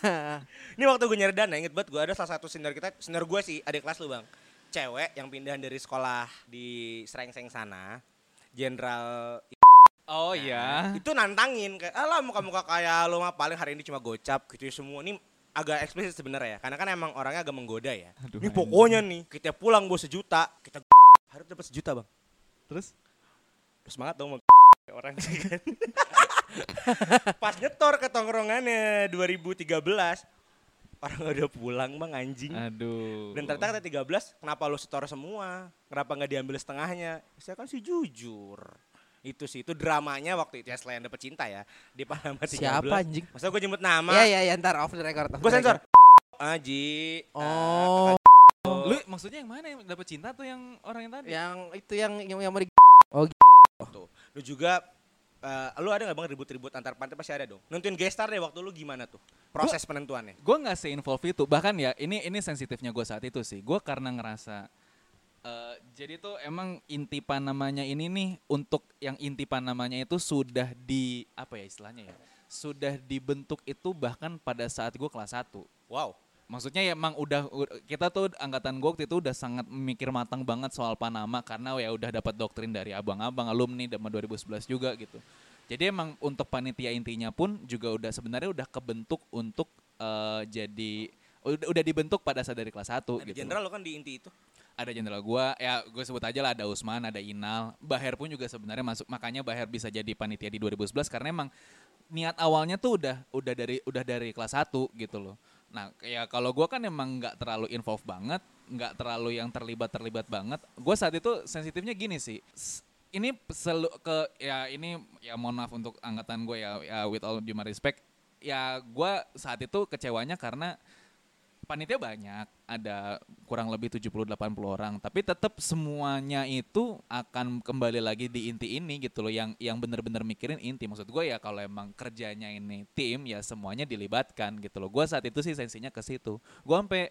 Speaker 2: Ini waktu gue nyari dana inget banget gue ada salah satu senior kita, senior gue sih adik kelas lu bang. Cewek yang pindahan dari sekolah di Serengseng sana. Jenderal
Speaker 4: Oh iya.
Speaker 2: itu nantangin kayak alah muka-muka kayak lo mah paling hari ini cuma gocap gitu semua ini agak eksplisit sebenarnya ya karena kan emang orangnya agak menggoda ya
Speaker 4: Aduh,
Speaker 2: ini
Speaker 4: anjing.
Speaker 2: pokoknya nih kita pulang bawa sejuta kita harus dapat sejuta bang
Speaker 4: Terus
Speaker 2: semangat dong mau orang (laughs) sih kan. Pas nyetor ke tongkrongannya 2013 orang udah pulang bang anjing.
Speaker 4: aduh.
Speaker 2: Dan ternyata kata 13 kenapa lu setor semua? Kenapa nggak diambil setengahnya? Saya kan sih jujur. Itu sih itu dramanya waktu itu ya selain dapet cinta ya di Panama 13.
Speaker 3: Siapa anjing?
Speaker 2: Masa gue nyebut nama?
Speaker 3: Iya iya ya, ntar off the record. off
Speaker 2: Gue
Speaker 3: the
Speaker 2: sensor. Ah,
Speaker 3: record.
Speaker 2: Aji.
Speaker 3: Oh,
Speaker 2: Nah,
Speaker 4: lu maksudnya yang mana yang dapat cinta tuh yang orang yang tadi?
Speaker 3: yang itu yang yang yang mau di-
Speaker 2: Tuh. gitu. Lu juga eh, lu ada nggak bang ribut-ribut antar pantai pasti ada dong. Nonton gestar deh waktu lu gimana tuh proses penentuannya?
Speaker 4: gue nggak se-involve itu bahkan ya ini ini sensitifnya gue saat itu sih gue karena ngerasa eh, jadi tuh emang inti panamanya ini nih untuk yang inti panamanya itu sudah di apa ya istilahnya ya sudah dibentuk itu bahkan pada saat gue kelas 1
Speaker 2: Wow.
Speaker 4: Maksudnya ya emang udah u- kita tuh angkatan gue waktu itu udah sangat mikir matang banget soal Panama karena ya udah dapat doktrin dari abang-abang alumni sama 2011 juga gitu. Jadi emang untuk panitia intinya pun juga udah sebenarnya udah kebentuk untuk eh, jadi udah, udah dibentuk pada saat dari kelas 1
Speaker 2: Ada
Speaker 4: gitu.
Speaker 2: jenderal lo kan di inti itu.
Speaker 4: Ada jenderal gua, ya gue sebut aja lah ada Usman, ada Inal, Baher pun juga sebenarnya masuk makanya Baher bisa jadi panitia di 2011 karena emang niat awalnya tuh udah udah dari udah dari kelas 1 gitu loh. Nah, ya kalau gua kan emang nggak terlalu involved banget, nggak terlalu yang terlibat terlibat banget gue saat itu sensitifnya gini sih S- ini selu ke ya ini ya mohon maaf untuk angkatan gue ya, ya with all due respect ya gue saat itu kecewanya karena panitia banyak, ada kurang lebih 70-80 orang, tapi tetap semuanya itu akan kembali lagi di inti ini gitu loh, yang yang benar-benar mikirin inti. Maksud gue ya kalau emang kerjanya ini tim ya semuanya dilibatkan gitu loh. Gue saat itu sih sensinya ke situ. Gue sampai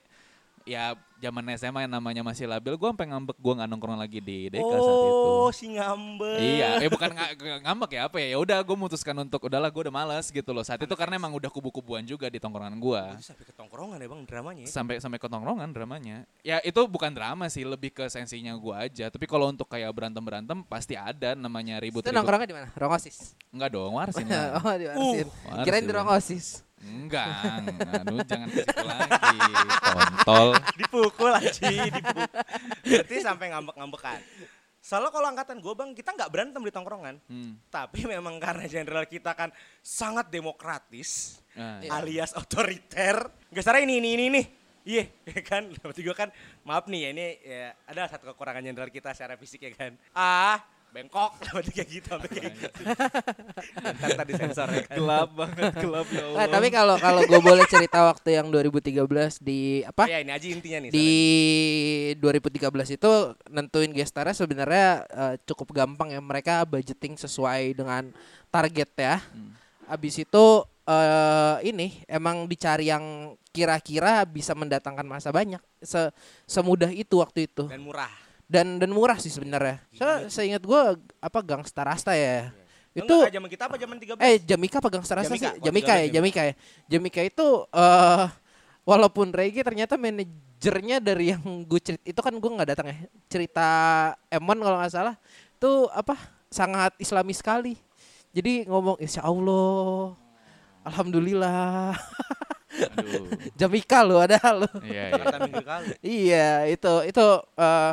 Speaker 4: ya zaman SMA yang namanya masih labil, gue sampai ngambek gue nggak nongkrong lagi di DK saat itu.
Speaker 2: Oh, si ngambek.
Speaker 4: Iya, eh bukan nga- nga- ngambek ya apa ya? Ya udah, gue memutuskan untuk udahlah, gue udah males gitu loh. Saat itu karena emang udah kubu-kubuan juga di tongkrongan gue
Speaker 2: Itu sampai ketongkrongan ya bang dramanya. ya.
Speaker 4: sampai sampai ketongkrongan dramanya ya itu bukan drama sih lebih ke sensinya gua aja tapi kalau untuk kayak berantem berantem pasti ada namanya ribut
Speaker 3: Itu
Speaker 4: ribut
Speaker 3: nongkrongnya di mana? Rongosis.
Speaker 4: enggak dong warasin lah.
Speaker 3: (laughs) oh, di
Speaker 2: Uh,
Speaker 3: Warsin.
Speaker 4: Warsin.
Speaker 3: Kirain di Rongosis.
Speaker 4: enggak aduh jangan ke situ lagi
Speaker 3: (laughs)
Speaker 4: kontol
Speaker 2: Dipukul aja, dipukul. Berarti sampai ngambek-ngambekan. Soalnya kalau angkatan gue bang, kita nggak berantem di tongkrongan.
Speaker 4: hmm.
Speaker 2: Tapi memang karena jenderal kita kan sangat demokratis,
Speaker 4: nah,
Speaker 3: Iya.
Speaker 2: alias otoriter. Gak salah ini, ini, ini, nih. Iya, ya kan? Berarti gue kan, maaf nih ya, ini ya, ada satu kekurangan jenderal kita secara fisik ya kan. Ah, bengkok, berarti kayak gitu, sampai kayak gitu. Ntar tadi sensor ya kan.
Speaker 4: gelap banget gelap ya
Speaker 2: Oh.
Speaker 3: Eh, tapi kalau kalau gue boleh cerita waktu yang 2013 di apa?
Speaker 2: Ya ini aja intinya nih.
Speaker 3: di 2013 itu nentuin gestarnya sebenarnya eh, cukup gampang ya mereka budgeting sesuai dengan target ya.
Speaker 2: Hmm.
Speaker 3: Habis itu eh ini emang dicari yang kira-kira bisa mendatangkan masa banyak Se- semudah itu waktu itu
Speaker 2: Dan murah.
Speaker 3: dan dan murah sih sebenarnya. So, seingat gua apa Gangsta Rasta ya.
Speaker 2: Itu
Speaker 3: Itu
Speaker 2: zaman kita apa zaman 13?
Speaker 3: Eh Jamika pegang Sarasa
Speaker 2: Jamika,
Speaker 3: Jamika,
Speaker 2: kalau tiga
Speaker 3: Jamika ya,
Speaker 2: belas
Speaker 3: Jamika ya. Jamika itu eh walaupun Regi ternyata manajernya dari yang gue cerita itu kan gue nggak datang ya. Cerita Emon kalau nggak salah tuh apa sangat islami sekali. Jadi ngomong Insya Allah, Alhamdulillah, (laughs)
Speaker 4: aduh
Speaker 3: Jamika lo ada lo.
Speaker 4: iya iya
Speaker 2: Kata minggu kali.
Speaker 3: Iya, itu itu eh,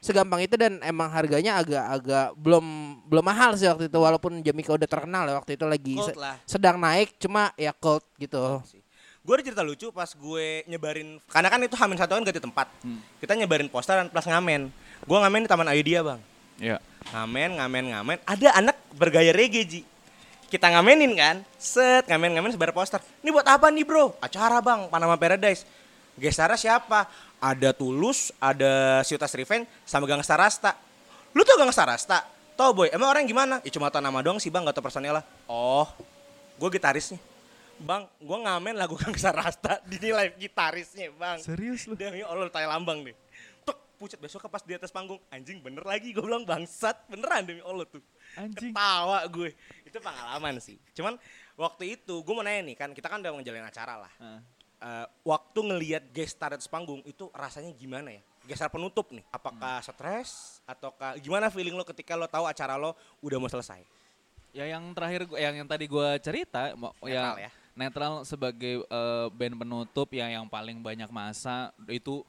Speaker 3: segampang itu dan emang harganya agak-agak belum belum mahal sih waktu itu walaupun Jamika udah terkenal ya waktu itu lagi
Speaker 2: Cold
Speaker 3: se-
Speaker 2: lah.
Speaker 3: sedang naik cuma ya cold gitu.
Speaker 2: Gue ada cerita lucu pas gue nyebarin, karena kan itu Hamin satu kan ganti tempat. Kita nyebarin poster dan plus ngamen. Gue ngamen di Taman Ayudia bang.
Speaker 4: iya
Speaker 2: Ngamen, ngamen, ngamen. Ada anak bergaya reggae Ji. Kita ngamenin kan, set ngamen ngamen sebar poster. Ini buat apa nih bro? Acara bang, Panama Paradise. Gestarnya siapa? Ada Tulus, ada Siutas Revenge, sama Gangsta Rasta. Lu tau Gangsta Rasta? Tau boy, emang orang gimana? Ya cuma tau nama doang sih bang, gak tau personil lah. Oh, gue gitarisnya. Bang, gue ngamen lagu Gangsta Rasta (laughs) di live gitarisnya bang.
Speaker 4: serius
Speaker 2: Demi ya Allah tanya lambang deh. Tek, pucat besok pas di atas panggung. Anjing bener lagi gue bilang bangsat. Beneran demi Allah tuh.
Speaker 4: Anjing.
Speaker 2: Ketawa gue. Itu pengalaman sih. Cuman waktu itu gue mau nanya nih kan. Kita kan udah ngejalanin acara lah. Eh, waktu ngelihat gestar atas panggung itu rasanya gimana ya? Gestar penutup nih.
Speaker 4: Hmm.
Speaker 2: Apakah stres? Ataukah gimana feeling lo ketika lo tahu acara lo udah mau selesai?
Speaker 4: Ya yang terakhir gua- yang yang tadi gua cerita mo-
Speaker 2: Netral
Speaker 4: ya,
Speaker 2: ya.
Speaker 4: netral sebagai eh, band penutup ya yang paling banyak masa itu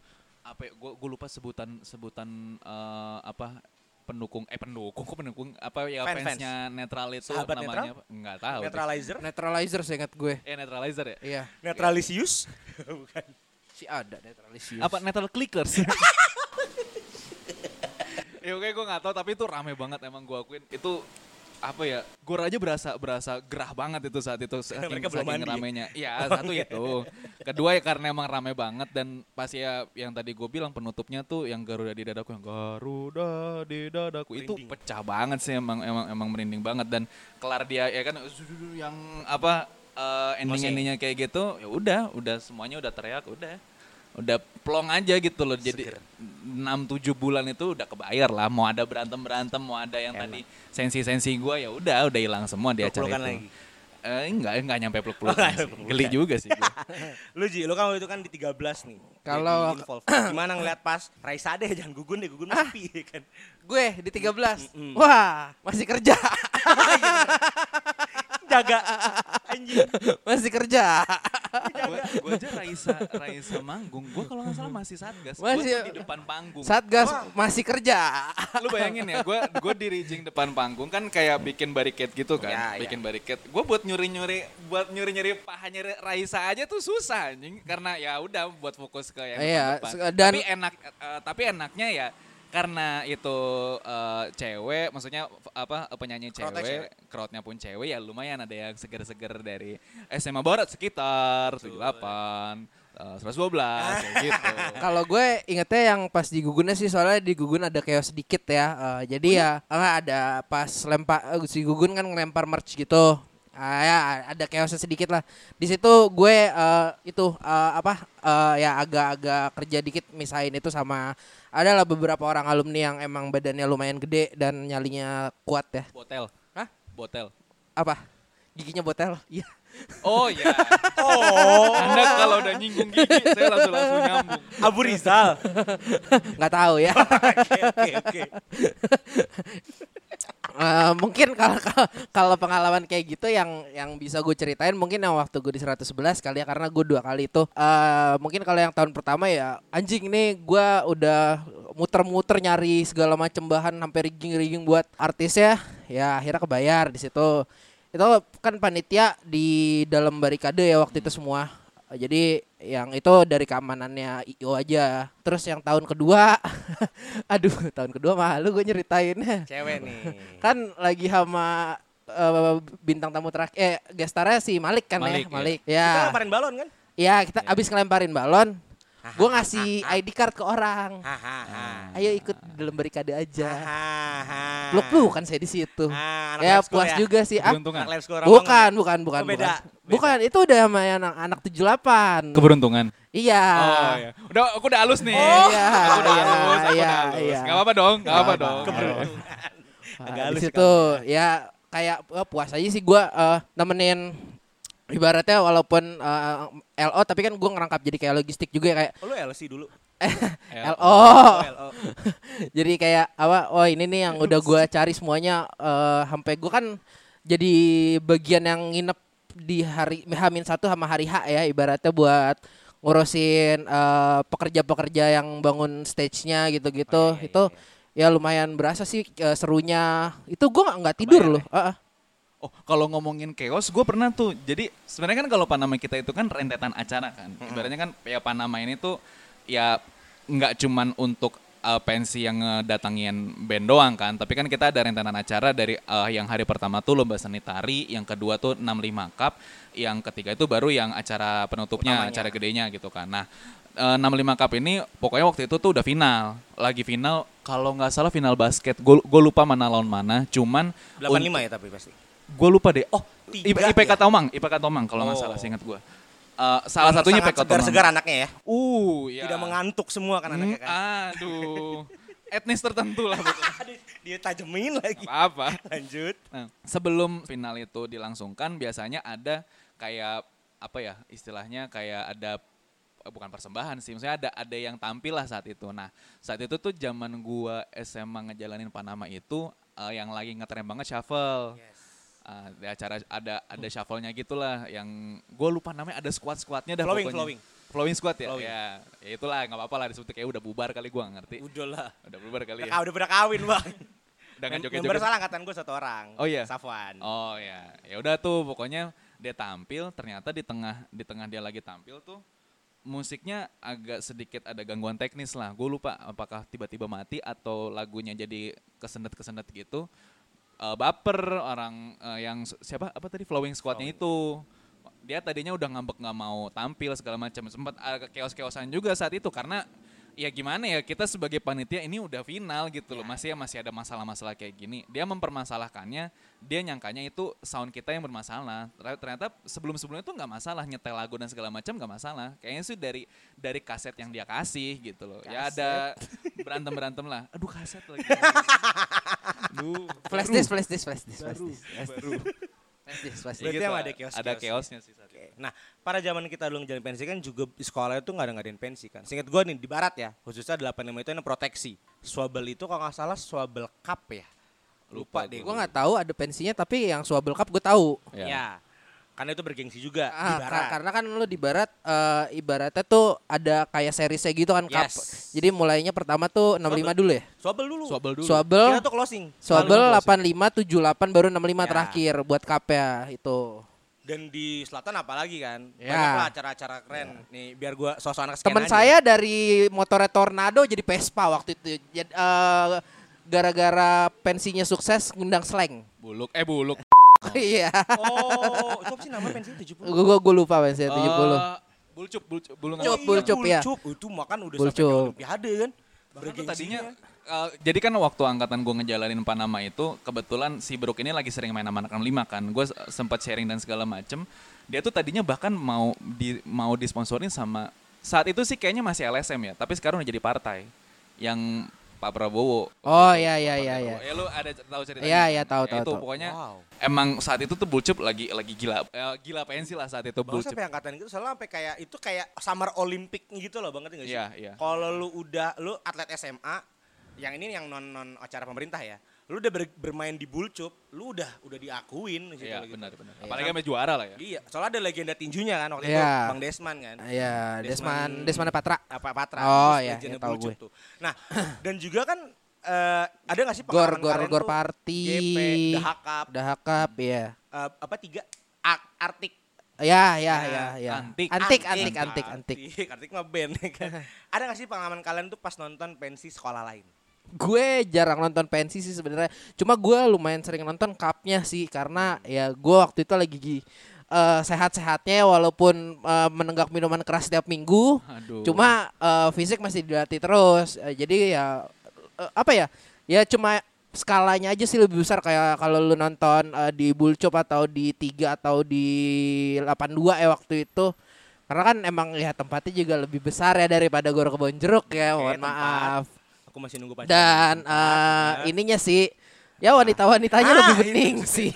Speaker 4: apa ya, gua gua lupa sebutan sebutan eh, apa pendukung eh pendukung kok pendukung apa ya
Speaker 2: Fans-fans.
Speaker 4: fansnya netral itu
Speaker 2: Sahabat
Speaker 4: namanya apa? nggak tahu. Nah. deh.
Speaker 2: Neutralizer?
Speaker 3: Neutralizer seingat gue.
Speaker 4: Eh netralizer ya?
Speaker 3: Iya,
Speaker 4: (laughs)
Speaker 2: Neutralisius? Bukan.
Speaker 3: si ada neutralizer.
Speaker 4: Apa netral clickers? (laughs) ya oke gua nggak tahu tapi itu rame banget emang gua akuin itu apa ya gor aja berasa berasa gerah banget itu saat itu saking,
Speaker 2: Mereka belum
Speaker 4: saking
Speaker 2: mandi ya?
Speaker 4: ramenya
Speaker 2: (laughs)
Speaker 4: ya satu
Speaker 2: iya.
Speaker 4: itu kedua ya karena emang rame banget dan pas ya yang tadi gue bilang penutupnya tuh yang Garuda di dadaku yang Garuda di dadaku itu
Speaker 2: Merinding.
Speaker 4: pecah banget sih emang emang emang merinding banget dan kelar dia ya kan zuzuzu, yang apa ending endingnya kayak gitu ya udah udah semuanya udah teriak udah udah plong aja gitu loh jadi
Speaker 2: Seger.
Speaker 4: 6-7 bulan itu udah kebayar lah mau ada berantem berantem mau ada yang tadi sensi-sensi gua ya udah udah hilang semua di acara
Speaker 2: Peluk-pelukan
Speaker 4: itu
Speaker 2: lagi?
Speaker 4: Eh, enggak enggak nyampe peluk
Speaker 2: Oh, nggak
Speaker 4: pelukan
Speaker 2: nyampe
Speaker 4: geli
Speaker 2: peluk-pelukan.
Speaker 4: juga sih
Speaker 2: (laughs)
Speaker 4: gua.
Speaker 2: lu Ji, lu kan waktu itu kan di 13 nih.
Speaker 3: Kalau- Ah.
Speaker 2: jadi involved. gimana ngeliat pas Raisa deh jangan gugun deh, gugun mati ya kan.
Speaker 3: Gue di 13.
Speaker 2: Mm-mm.
Speaker 3: Wah, masih kerja.
Speaker 2: jaga anjing
Speaker 3: (laughs) Masih kerja.
Speaker 4: gue aja Raisa Raisa manggung gue kalau nggak salah masih satgas gue
Speaker 2: ya?
Speaker 3: Masih-
Speaker 4: di depan panggung
Speaker 3: Satgas masih kerja.
Speaker 4: lu bayangin ya gue gue di rigging depan panggung kan kayak bikin barikade gitu kan
Speaker 3: Iya,
Speaker 2: Ya, ya.
Speaker 4: bikin barikade gue buat nyuri nyuri buat nyuri nyuri pahanya Ra- Raisa aja tuh susah anjing karena ya udah buat fokus ke yang
Speaker 3: Iya,
Speaker 4: depan
Speaker 3: se- dan-
Speaker 4: tapi enak eh, tapi enaknya ya karena itu eh, cewek maksudnya f- apa eh, penyanyi cewek,
Speaker 2: Crowd-nya cewek.
Speaker 4: crowdnya pun cewek ya lumayan ada yang seger-seger dari SMA Barat sekitar 78 eh, 112 kayak
Speaker 3: (laughs)
Speaker 4: gitu
Speaker 3: Kalau gue ingetnya yang pas di Gugunnya sih soalnya di Gugun ada chaos sedikit ya. Eh, jadi ya eh, ada pas lempar eh, si Gugun kan ngelempar merch gitu. Ah, ya ada chaosnya sedikit lah. Di situ gue eh, itu eh, apa eh, ya agak-agak kerja dikit misain itu sama adalah beberapa orang alumni yang emang badannya lumayan gede dan nyalinya kuat ya.
Speaker 4: botel
Speaker 3: Hah?
Speaker 4: botel
Speaker 3: Apa? Giginya botel. Iya. (laughs)
Speaker 4: oh ya
Speaker 2: oh
Speaker 4: Anda kalau udah nyinggung gigi, saya langsung langsung nyambung.
Speaker 2: Abu
Speaker 3: (laughs)
Speaker 2: Rizal
Speaker 3: nggak tahu ya.
Speaker 2: oke oke oke
Speaker 3: Eh, mungkin kalau kalau- kalau pengalaman kayak gitu yang yang bisa gue ceritain mungkin yang waktu gue di 111 kali ya karena gue dua kali itu eh mungkin kalau yang tahun pertama ya anjing nih gue udah muter-muter nyari segala macem bahan sampai rigging-rigging buat artisnya ya akhirnya kebayar di situ itu kan panitia di dalam barikade ya waktu itu semua Eh, jadi yang itu dari keamanannya IO aja terus yang tahun kedua (laughs) aduh tahun kedua malu gue (laughs) nyeritainnya
Speaker 2: cewek nih
Speaker 3: kan lagi sama eh, bintang tamu terakhir eh gestarnya si Malik kan
Speaker 4: Malik, Iya.
Speaker 3: ya
Speaker 4: ya.
Speaker 3: Malik
Speaker 2: kita
Speaker 3: ya
Speaker 2: lemparin balon kan
Speaker 3: ya kita abis ngelemparin balon gue ngasih ID card ke orang
Speaker 2: hahaha
Speaker 3: ayo ikut dalam barikade aja
Speaker 2: hahaha
Speaker 3: peluk pelukan saya di situ
Speaker 2: Ah, anak
Speaker 3: ya
Speaker 2: lab school
Speaker 3: puas
Speaker 2: ya.
Speaker 3: juga sih ah
Speaker 4: Keberuntungan.
Speaker 2: Anak lab school Rambang
Speaker 3: bukan bukan bukan
Speaker 2: Oh, beda,
Speaker 3: bukan
Speaker 2: beda.
Speaker 3: bukan itu udah sama anak anak 78
Speaker 4: Keberuntungan.
Speaker 3: iya
Speaker 4: Oh ya. Udah aku udah halus nih.
Speaker 3: iya,
Speaker 4: aku udah
Speaker 3: iya,
Speaker 4: halus, aku
Speaker 3: iya,
Speaker 4: udah halus.
Speaker 3: iya.
Speaker 4: Gak apa-apa dong, gak apa-apa
Speaker 3: Gak
Speaker 4: dong.
Speaker 3: apa-apa.
Speaker 2: keberuntungan agak
Speaker 3: Ah,
Speaker 2: halus kan?
Speaker 3: di situ ya kayak eh, puas aja sih gue nemenin ibaratnya walaupun eh, LO tapi kan gue ngerangkap jadi kayak logistik juga ya, kayak
Speaker 2: Oh, lu LC dulu
Speaker 4: Ya.
Speaker 3: LO
Speaker 2: LO.
Speaker 3: Oh. (laughs) jadi kayak apa oh ini nih yang udah gue cari semuanya eh, sampai gue kan jadi bagian yang nginep di hari Hamin satu sama hari H ya ibaratnya buat ngurusin eh, pekerja-pekerja yang bangun stage-nya gitu-gitu
Speaker 2: Oh, iya, iya,
Speaker 3: itu ya lumayan berasa sih eh, serunya itu gue nggak tidur loh
Speaker 4: Kebayang
Speaker 2: ya?
Speaker 3: Heeh.
Speaker 4: Oh, kalau ngomongin chaos, gue pernah tuh. Jadi sebenarnya kan kalau Panama kita itu kan rentetan acara kan. Ibaratnya kan ya Panama ini tuh ya nggak cuman untuk uh, pensi yang ngedatangin band doang kan. Tapi kan kita ada rentetan acara dari uh, yang hari pertama tuh lomba seni tari, yang kedua tuh 65 cup, yang ketiga itu baru yang acara penutupnya,
Speaker 2: Utamanya.
Speaker 4: acara gedenya gitu kan. Nah, eh, 65 Cup ini pokoknya waktu itu tuh udah final. Lagi final kalau nggak salah final basket. Gue lupa mana lawan mana, cuman
Speaker 2: 85 ya tapi pasti
Speaker 4: gue lupa deh. Oh, I-
Speaker 2: Tiga
Speaker 4: IPK
Speaker 2: ya?
Speaker 4: Tomang, IPK Tomang kalau nggak
Speaker 2: Oh.
Speaker 4: salah seingat gue. salah satunya IPK Tomang.
Speaker 2: segar anaknya ya
Speaker 4: Uh, ya.
Speaker 2: tidak mengantuk semua kan anaknya
Speaker 4: Hmm,
Speaker 2: kan
Speaker 4: Aduh, etnis tertentu lah.
Speaker 3: ah.
Speaker 4: pokoknya.
Speaker 2: (laughs) Aduh, dia tajemin lagi
Speaker 4: Apa-apa.
Speaker 2: lanjut
Speaker 4: Nah, sebelum final itu dilangsungkan biasanya ada kayak apa ya istilahnya kayak ada eh, bukan persembahan sih, maksudnya ada ada yang tampil lah saat itu. Nah, saat itu tuh zaman gua SMA ngejalanin Panama itu eh, yang lagi ngetren banget
Speaker 2: Iya,
Speaker 4: shuffle. Ah, di acara ada ada shuffle-nya gitulah yang gue lupa namanya ada squad squadnya dah
Speaker 2: Flowing,
Speaker 4: pokoknya.
Speaker 2: flowing.
Speaker 4: Flowing squad ya.
Speaker 2: Flowing.
Speaker 4: Ya, ya itulah nggak apa-apa lah disebut kayak udah bubar kali gue ngerti.
Speaker 2: udah lah
Speaker 4: Udah bubar kali
Speaker 2: (laughs) udah,
Speaker 4: ya.
Speaker 2: udah pada kawin bang
Speaker 4: Udah nggak
Speaker 2: Mem-
Speaker 4: joget-joget
Speaker 2: member salah angkatan gue satu orang
Speaker 4: Oh, iya?
Speaker 2: Safwan
Speaker 4: Oh ya, ya udah tuh pokoknya dia tampil ternyata di tengah di tengah dia lagi tampil tuh musiknya agak sedikit ada gangguan teknis lah. Gue lupa apakah tiba-tiba mati atau lagunya jadi kesendet-kesendet gitu. Eh, baper orang eh, yang s- siapa apa tadi flowing squadnya itu dia tadinya udah ngambek nggak mau tampil segala macam sempat agak keos-keosan juga saat itu karena ya gimana ya kita sebagai panitia ini udah final gitu loh masih masih ada masalah-masalah kayak gini dia mempermasalahkannya dia nyangkanya itu sound kita yang bermasalah Ter- ternyata sebelum-sebelumnya tuh nggak masalah nyetel lagu dan segala macam nggak masalah kayaknya sih dari dari kaset yang dia kasih gitu loh ya ada berantem berantem lah aduh kaset lagi aduh
Speaker 3: flash disk flash disk flash disk flash disk flash disk. Flash disk, flash disk.
Speaker 2: Berarti emang ada chaos-
Speaker 4: iya gitu ada
Speaker 2: chaosnya.
Speaker 4: chaosnya sih saat itu.
Speaker 2: Oke. Nah, pada zaman kita dulu ngejalan pensi kan juga di sekolah itu nggak ada ngadain pensi kan. Singkat gue nih di barat ya, khususnya 85 itu yang proteksi. Swabel itu kalau nggak salah swabel cup ya. Lupa
Speaker 4: Lupa,
Speaker 2: deh.
Speaker 4: deh.
Speaker 3: Gue nggak tahu ada pensinya tapi yang Swabel Cup gue tahu.
Speaker 4: Iya.
Speaker 2: Ya. Karena itu bergengsi juga
Speaker 3: Ah,
Speaker 2: di
Speaker 3: ka-
Speaker 2: barat.
Speaker 3: karena kan lu di barat eh, ibaratnya tuh ada kayak serisnya gitu kan cup.
Speaker 2: Yes.
Speaker 3: Jadi mulainya pertama tuh 65 dulu ya.
Speaker 2: Swabel dulu.
Speaker 4: Swabel dulu.
Speaker 3: Swabel
Speaker 2: Kita tuh closing.
Speaker 3: Swabel
Speaker 4: Lalu
Speaker 3: 85 78 baru
Speaker 2: Ya.
Speaker 3: 65 terakhir buat cup ya itu.
Speaker 2: Dan di selatan apalagi kan.
Speaker 3: Ya.
Speaker 2: Banyak lah acara-acara keren. Nih biar gua sosok anak sekian aja.
Speaker 3: Teman saya dari motornya Tornado jadi Vespa waktu itu. Jad- eh, gara-gara pensinya sukses ngundang slang.
Speaker 4: (laughs) Buluk, eh buluk.
Speaker 3: (laughs) Iya.
Speaker 2: Oh, itu apa sih nama pensi 70?
Speaker 3: Gue gue lupa pensinya 70.
Speaker 2: Oh.
Speaker 4: Eh, bulcup, bulcup, bulung.
Speaker 3: Cup,
Speaker 2: iya,
Speaker 3: bulcup, ya.
Speaker 2: bulcup. Itu makan udah sampai
Speaker 3: Bulcup.
Speaker 2: ke Olimpiade kan.
Speaker 4: Bahkan tuh
Speaker 2: Bergengsinya.
Speaker 4: tadinya eh, jadi kan waktu angkatan gue ngejalanin Panama itu kebetulan si Brook ini lagi sering main sama anak 65 kan gue sempat sharing dan segala macem dia tuh tadinya bahkan mau di mau disponsorin sama saat itu sih kayaknya masih LSM ya tapi sekarang udah jadi partai yang Pak Prabowo
Speaker 3: Oh iya iya
Speaker 4: Pak
Speaker 3: iya iya.
Speaker 4: Prabowo. ya lu ada c- tahu ceritanya
Speaker 3: Iya,
Speaker 4: kan?
Speaker 3: iya, tahu,
Speaker 4: Ya,
Speaker 3: tahu,
Speaker 4: itu
Speaker 3: tahu.
Speaker 4: pokoknya
Speaker 2: Wow.
Speaker 4: emang saat itu tuh Bulcup lagi lagi gila eh, gila pensi lah saat itu
Speaker 2: Bahkan
Speaker 4: Bulcup Iya,
Speaker 2: sampai angkatan gitu soalnya sampai kayak itu kayak summer olympic gitu loh banget nggak sih?
Speaker 4: Iya, iya.
Speaker 2: Kalau lu udah lu atlet SMA yang ini yang non non acara pemerintah ya. Lu udah ber- bermain di bulcup, lu udah udah diakuin gitu
Speaker 4: iya
Speaker 2: loh gitu.
Speaker 4: benar benar apalagi sama juara lah ya
Speaker 2: Iya, soalnya ada legenda tinjunya kan waktu
Speaker 3: Iya.
Speaker 2: itu Bang Desman kan.
Speaker 3: Iya,
Speaker 2: Desman-
Speaker 3: Desman Desman Patra.
Speaker 2: Apa Patra?
Speaker 3: Oh,
Speaker 2: terus
Speaker 3: iya,
Speaker 2: legenda
Speaker 3: iya, tahu
Speaker 2: bulcup
Speaker 3: gue.
Speaker 2: Tuh. Nah, dan juga kan eh, ada gak sih
Speaker 3: Gor
Speaker 2: pengalaman
Speaker 3: gor
Speaker 2: kalian
Speaker 3: gor
Speaker 2: tuh
Speaker 3: party.
Speaker 2: GP, Dahakap,
Speaker 3: Dahakap ya.
Speaker 2: eh, apa tiga Ak- Artik
Speaker 3: Ya, ya,
Speaker 2: Nah,
Speaker 3: ya, ya.
Speaker 4: antik.
Speaker 3: antik, antik, antik, antik.
Speaker 2: Antik, antik mah band ya
Speaker 3: (laughs)
Speaker 2: kan. Ada gak sih pengalaman kalian tuh pas nonton pensi sekolah lain?
Speaker 3: Gue jarang nonton pensi sih sebenarnya. Cuma gue lumayan sering nonton cupnya sih karena ya gue waktu itu lagi gi- eh, sehat-sehatnya walaupun eh, menenggak minuman keras setiap minggu.
Speaker 4: aduh
Speaker 3: Cuma eh, fisik masih dilatih terus. Eh, jadi ya eh, apa ya? Ya cuma skalanya aja sih lebih besar kayak kalau lu nonton eh, di Bulcup atau di 3 atau di 82 ya waktu itu. Karena kan emang ya tempatnya juga lebih besar ya daripada Gor Kebon Jeruk ya,
Speaker 2: Oke,
Speaker 3: mohon
Speaker 2: tempat.
Speaker 3: maaf.
Speaker 2: Aku masih nunggu pacar.
Speaker 3: Dan eh, ininya sih ya wanita-wanitanya
Speaker 2: Ah,
Speaker 3: lebih
Speaker 2: ini.
Speaker 3: bening sih.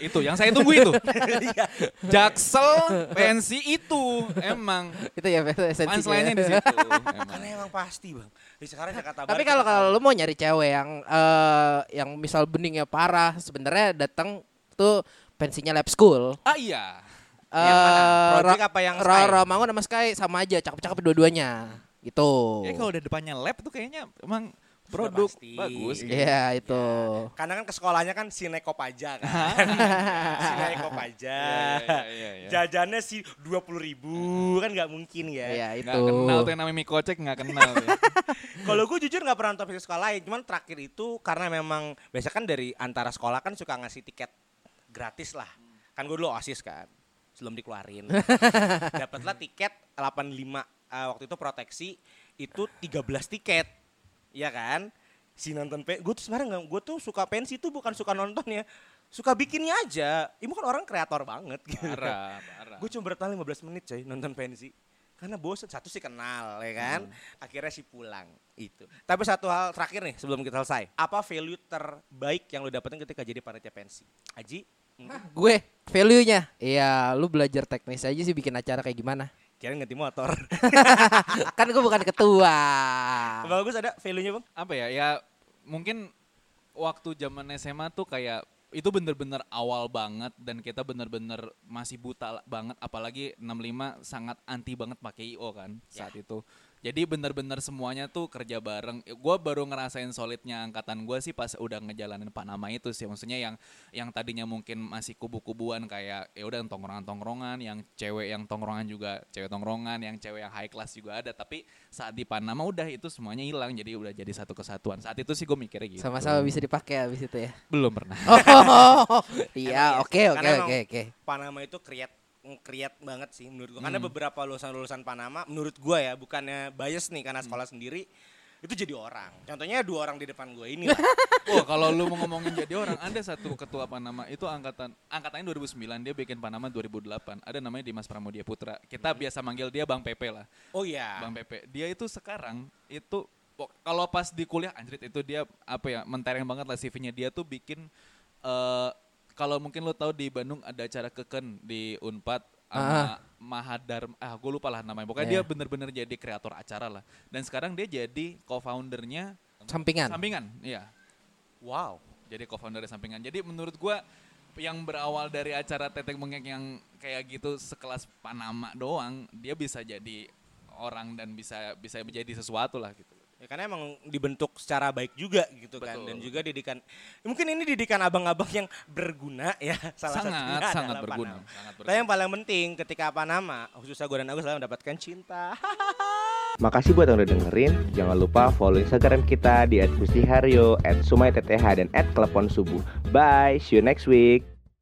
Speaker 4: itu yang saya tunggu (laughs) itu
Speaker 2: Iya.
Speaker 4: Jaksel pensi itu emang
Speaker 3: itu ya esensinya.
Speaker 4: punchline-nya di situ. emang.
Speaker 2: Karena Kan emang pasti bang. Di sekarang Jakarta
Speaker 3: (laughs) Tapi
Speaker 2: Barat kan
Speaker 3: kalau
Speaker 2: kita
Speaker 3: kalau
Speaker 2: tahu.
Speaker 3: lu mau nyari cewek yang eh yang misal beningnya parah, sebenarnya datang tuh pensinya lab school.
Speaker 4: Ah iya.
Speaker 2: Yang mana?
Speaker 3: Eh, Ro-
Speaker 2: Project apa yang
Speaker 3: Ro-
Speaker 2: Sky?
Speaker 3: Romangun sama Sky sama aja, cakep-cakep dua-duanya. Gitu.
Speaker 4: Ya kalau udah depannya lab tuh kayaknya emang produk
Speaker 2: pasti.
Speaker 4: bagus. gitu.
Speaker 3: Iya, itu.
Speaker 2: Karena kan ke sekolahnya kan sinekop aja
Speaker 3: (laughs)
Speaker 2: kan. sinekop aja.
Speaker 4: Iya, iya, iya, iya.
Speaker 2: Jajannya sih dua puluh ribu kan nggak mungkin ya.
Speaker 3: Iya,
Speaker 4: Nggak
Speaker 3: itu.
Speaker 4: kenal tuh yang namanya mie kocek nggak kenal. (laughs) ya.
Speaker 2: Kalau gue jujur nggak pernah nonton film sekolah lain, cuman terakhir itu karena memang biasa kan dari antara sekolah kan suka ngasih tiket gratis lah. Kan gue dulu osis kan, sebelum dikeluarin. Dapatlah tiket 85 eh, waktu itu proteksi itu 13 tiket, ya kan? Si nonton pe, gue tuh sebenarnya nggak- gue tuh suka pensi tuh bukan suka nonton ya, suka bikinnya aja. Ibu kan orang kreator banget. Gitu.
Speaker 4: Parah,
Speaker 3: Nah.
Speaker 4: parah.
Speaker 2: Gue cuma bertahan 15 menit coy nonton pensi. Karena bosen, satu sih kenal ya kan.
Speaker 3: Hmm.
Speaker 2: Akhirnya sih pulang itu. Tapi satu hal terakhir nih sebelum kita selesai. Apa value terbaik yang lo dapetin ketika jadi panitia pensi? Aji? mungkin
Speaker 3: Gue value-nya. Iya, lu belajar teknis aja sih bikin acara kayak gimana. (laughs)
Speaker 2: Kirain ganti motor.
Speaker 3: kan gue bukan ketua. Ah.
Speaker 2: (laughs) Bagus ada value-nya bang?
Speaker 4: Apa ya? Ya mungkin waktu zaman SMA tuh kayak itu bener-bener awal banget dan kita bener-bener masih buta la- banget apalagi 65 sangat anti banget pakai IO kan saat itu. Jadi bener-bener semuanya tuh kerja bareng. Gue baru ngerasain solidnya angkatan gue sih pas udah ngejalanin Panama itu sih. Maksudnya yang yang tadinya mungkin masih kubu-kubuan kayak ya udah yang tongkrongan-tongkrongan, yang cewek yang tongkrongan juga cewek tongkrongan, yang cewek yang high class juga ada. Tapi saat di Panama udah itu semuanya hilang. Jadi udah jadi satu kesatuan. Saat itu sih gue mikirnya gitu.
Speaker 3: Sama-sama bisa dipakai abis itu ya.
Speaker 4: Belum pernah. (laughs)
Speaker 3: (laughs) Oh,
Speaker 2: Emang
Speaker 3: iya,
Speaker 2: ya,
Speaker 3: oke, oke,
Speaker 2: karena emang
Speaker 3: oke, oke.
Speaker 2: Panama itu create create banget sih menurut gua. Karena
Speaker 3: Hmm.
Speaker 2: beberapa lulusan-lulusan Panama menurut gua ya bukannya bias nih
Speaker 3: Hmm.
Speaker 2: karena sekolah sendiri itu jadi orang. Contohnya dua orang di depan gue
Speaker 3: (laughs)
Speaker 2: ini. lah.
Speaker 4: Wah kalau lu mau ngomongin jadi orang, ada satu ketua Panama itu angkatan angkatannya 2009, dia bikin Panama 2008. Ada namanya Dimas Pramudia Putra. Kita biasa manggil dia Bang Pepe lah.
Speaker 2: Oh iya.
Speaker 4: Bang Pepe. Dia itu sekarang itu pok- kalau pas di kuliah anjrit itu dia apa ya mentereng banget lah CV-nya dia tuh bikin eh kalau mungkin lo tahu di Bandung ada acara keken di Unpad sama Mahadar ah gue lupa lah namanya pokoknya dia
Speaker 3: Iya.
Speaker 4: bener-bener jadi kreator acara lah dan sekarang dia jadi co-foundernya
Speaker 3: Sampingan.
Speaker 4: sampingan iya
Speaker 2: Wow.
Speaker 4: jadi co-founder sampingan jadi menurut gua yang berawal dari acara Teteng Bengek yang kayak gitu sekelas Panama doang dia bisa jadi orang dan bisa bisa menjadi sesuatu lah gitu
Speaker 2: Ya, karena emang dibentuk secara baik juga gitu kan
Speaker 4: Betul.
Speaker 2: dan juga didikan mungkin ini didikan abang-abang yang berguna ya (laughs) salah
Speaker 4: Sangat,
Speaker 2: satunya
Speaker 4: sangat
Speaker 2: adalah
Speaker 4: berguna,
Speaker 2: Panama.
Speaker 4: sangat
Speaker 2: Tapi yang paling penting ketika Panama khususnya gue dan Agus selalu mendapatkan cinta.
Speaker 1: Makasih buat yang udah dengerin. Jangan lupa follow Instagram kita di @gustiharyo, @sumaitth dan @klepon subuh. Bye, see you next week.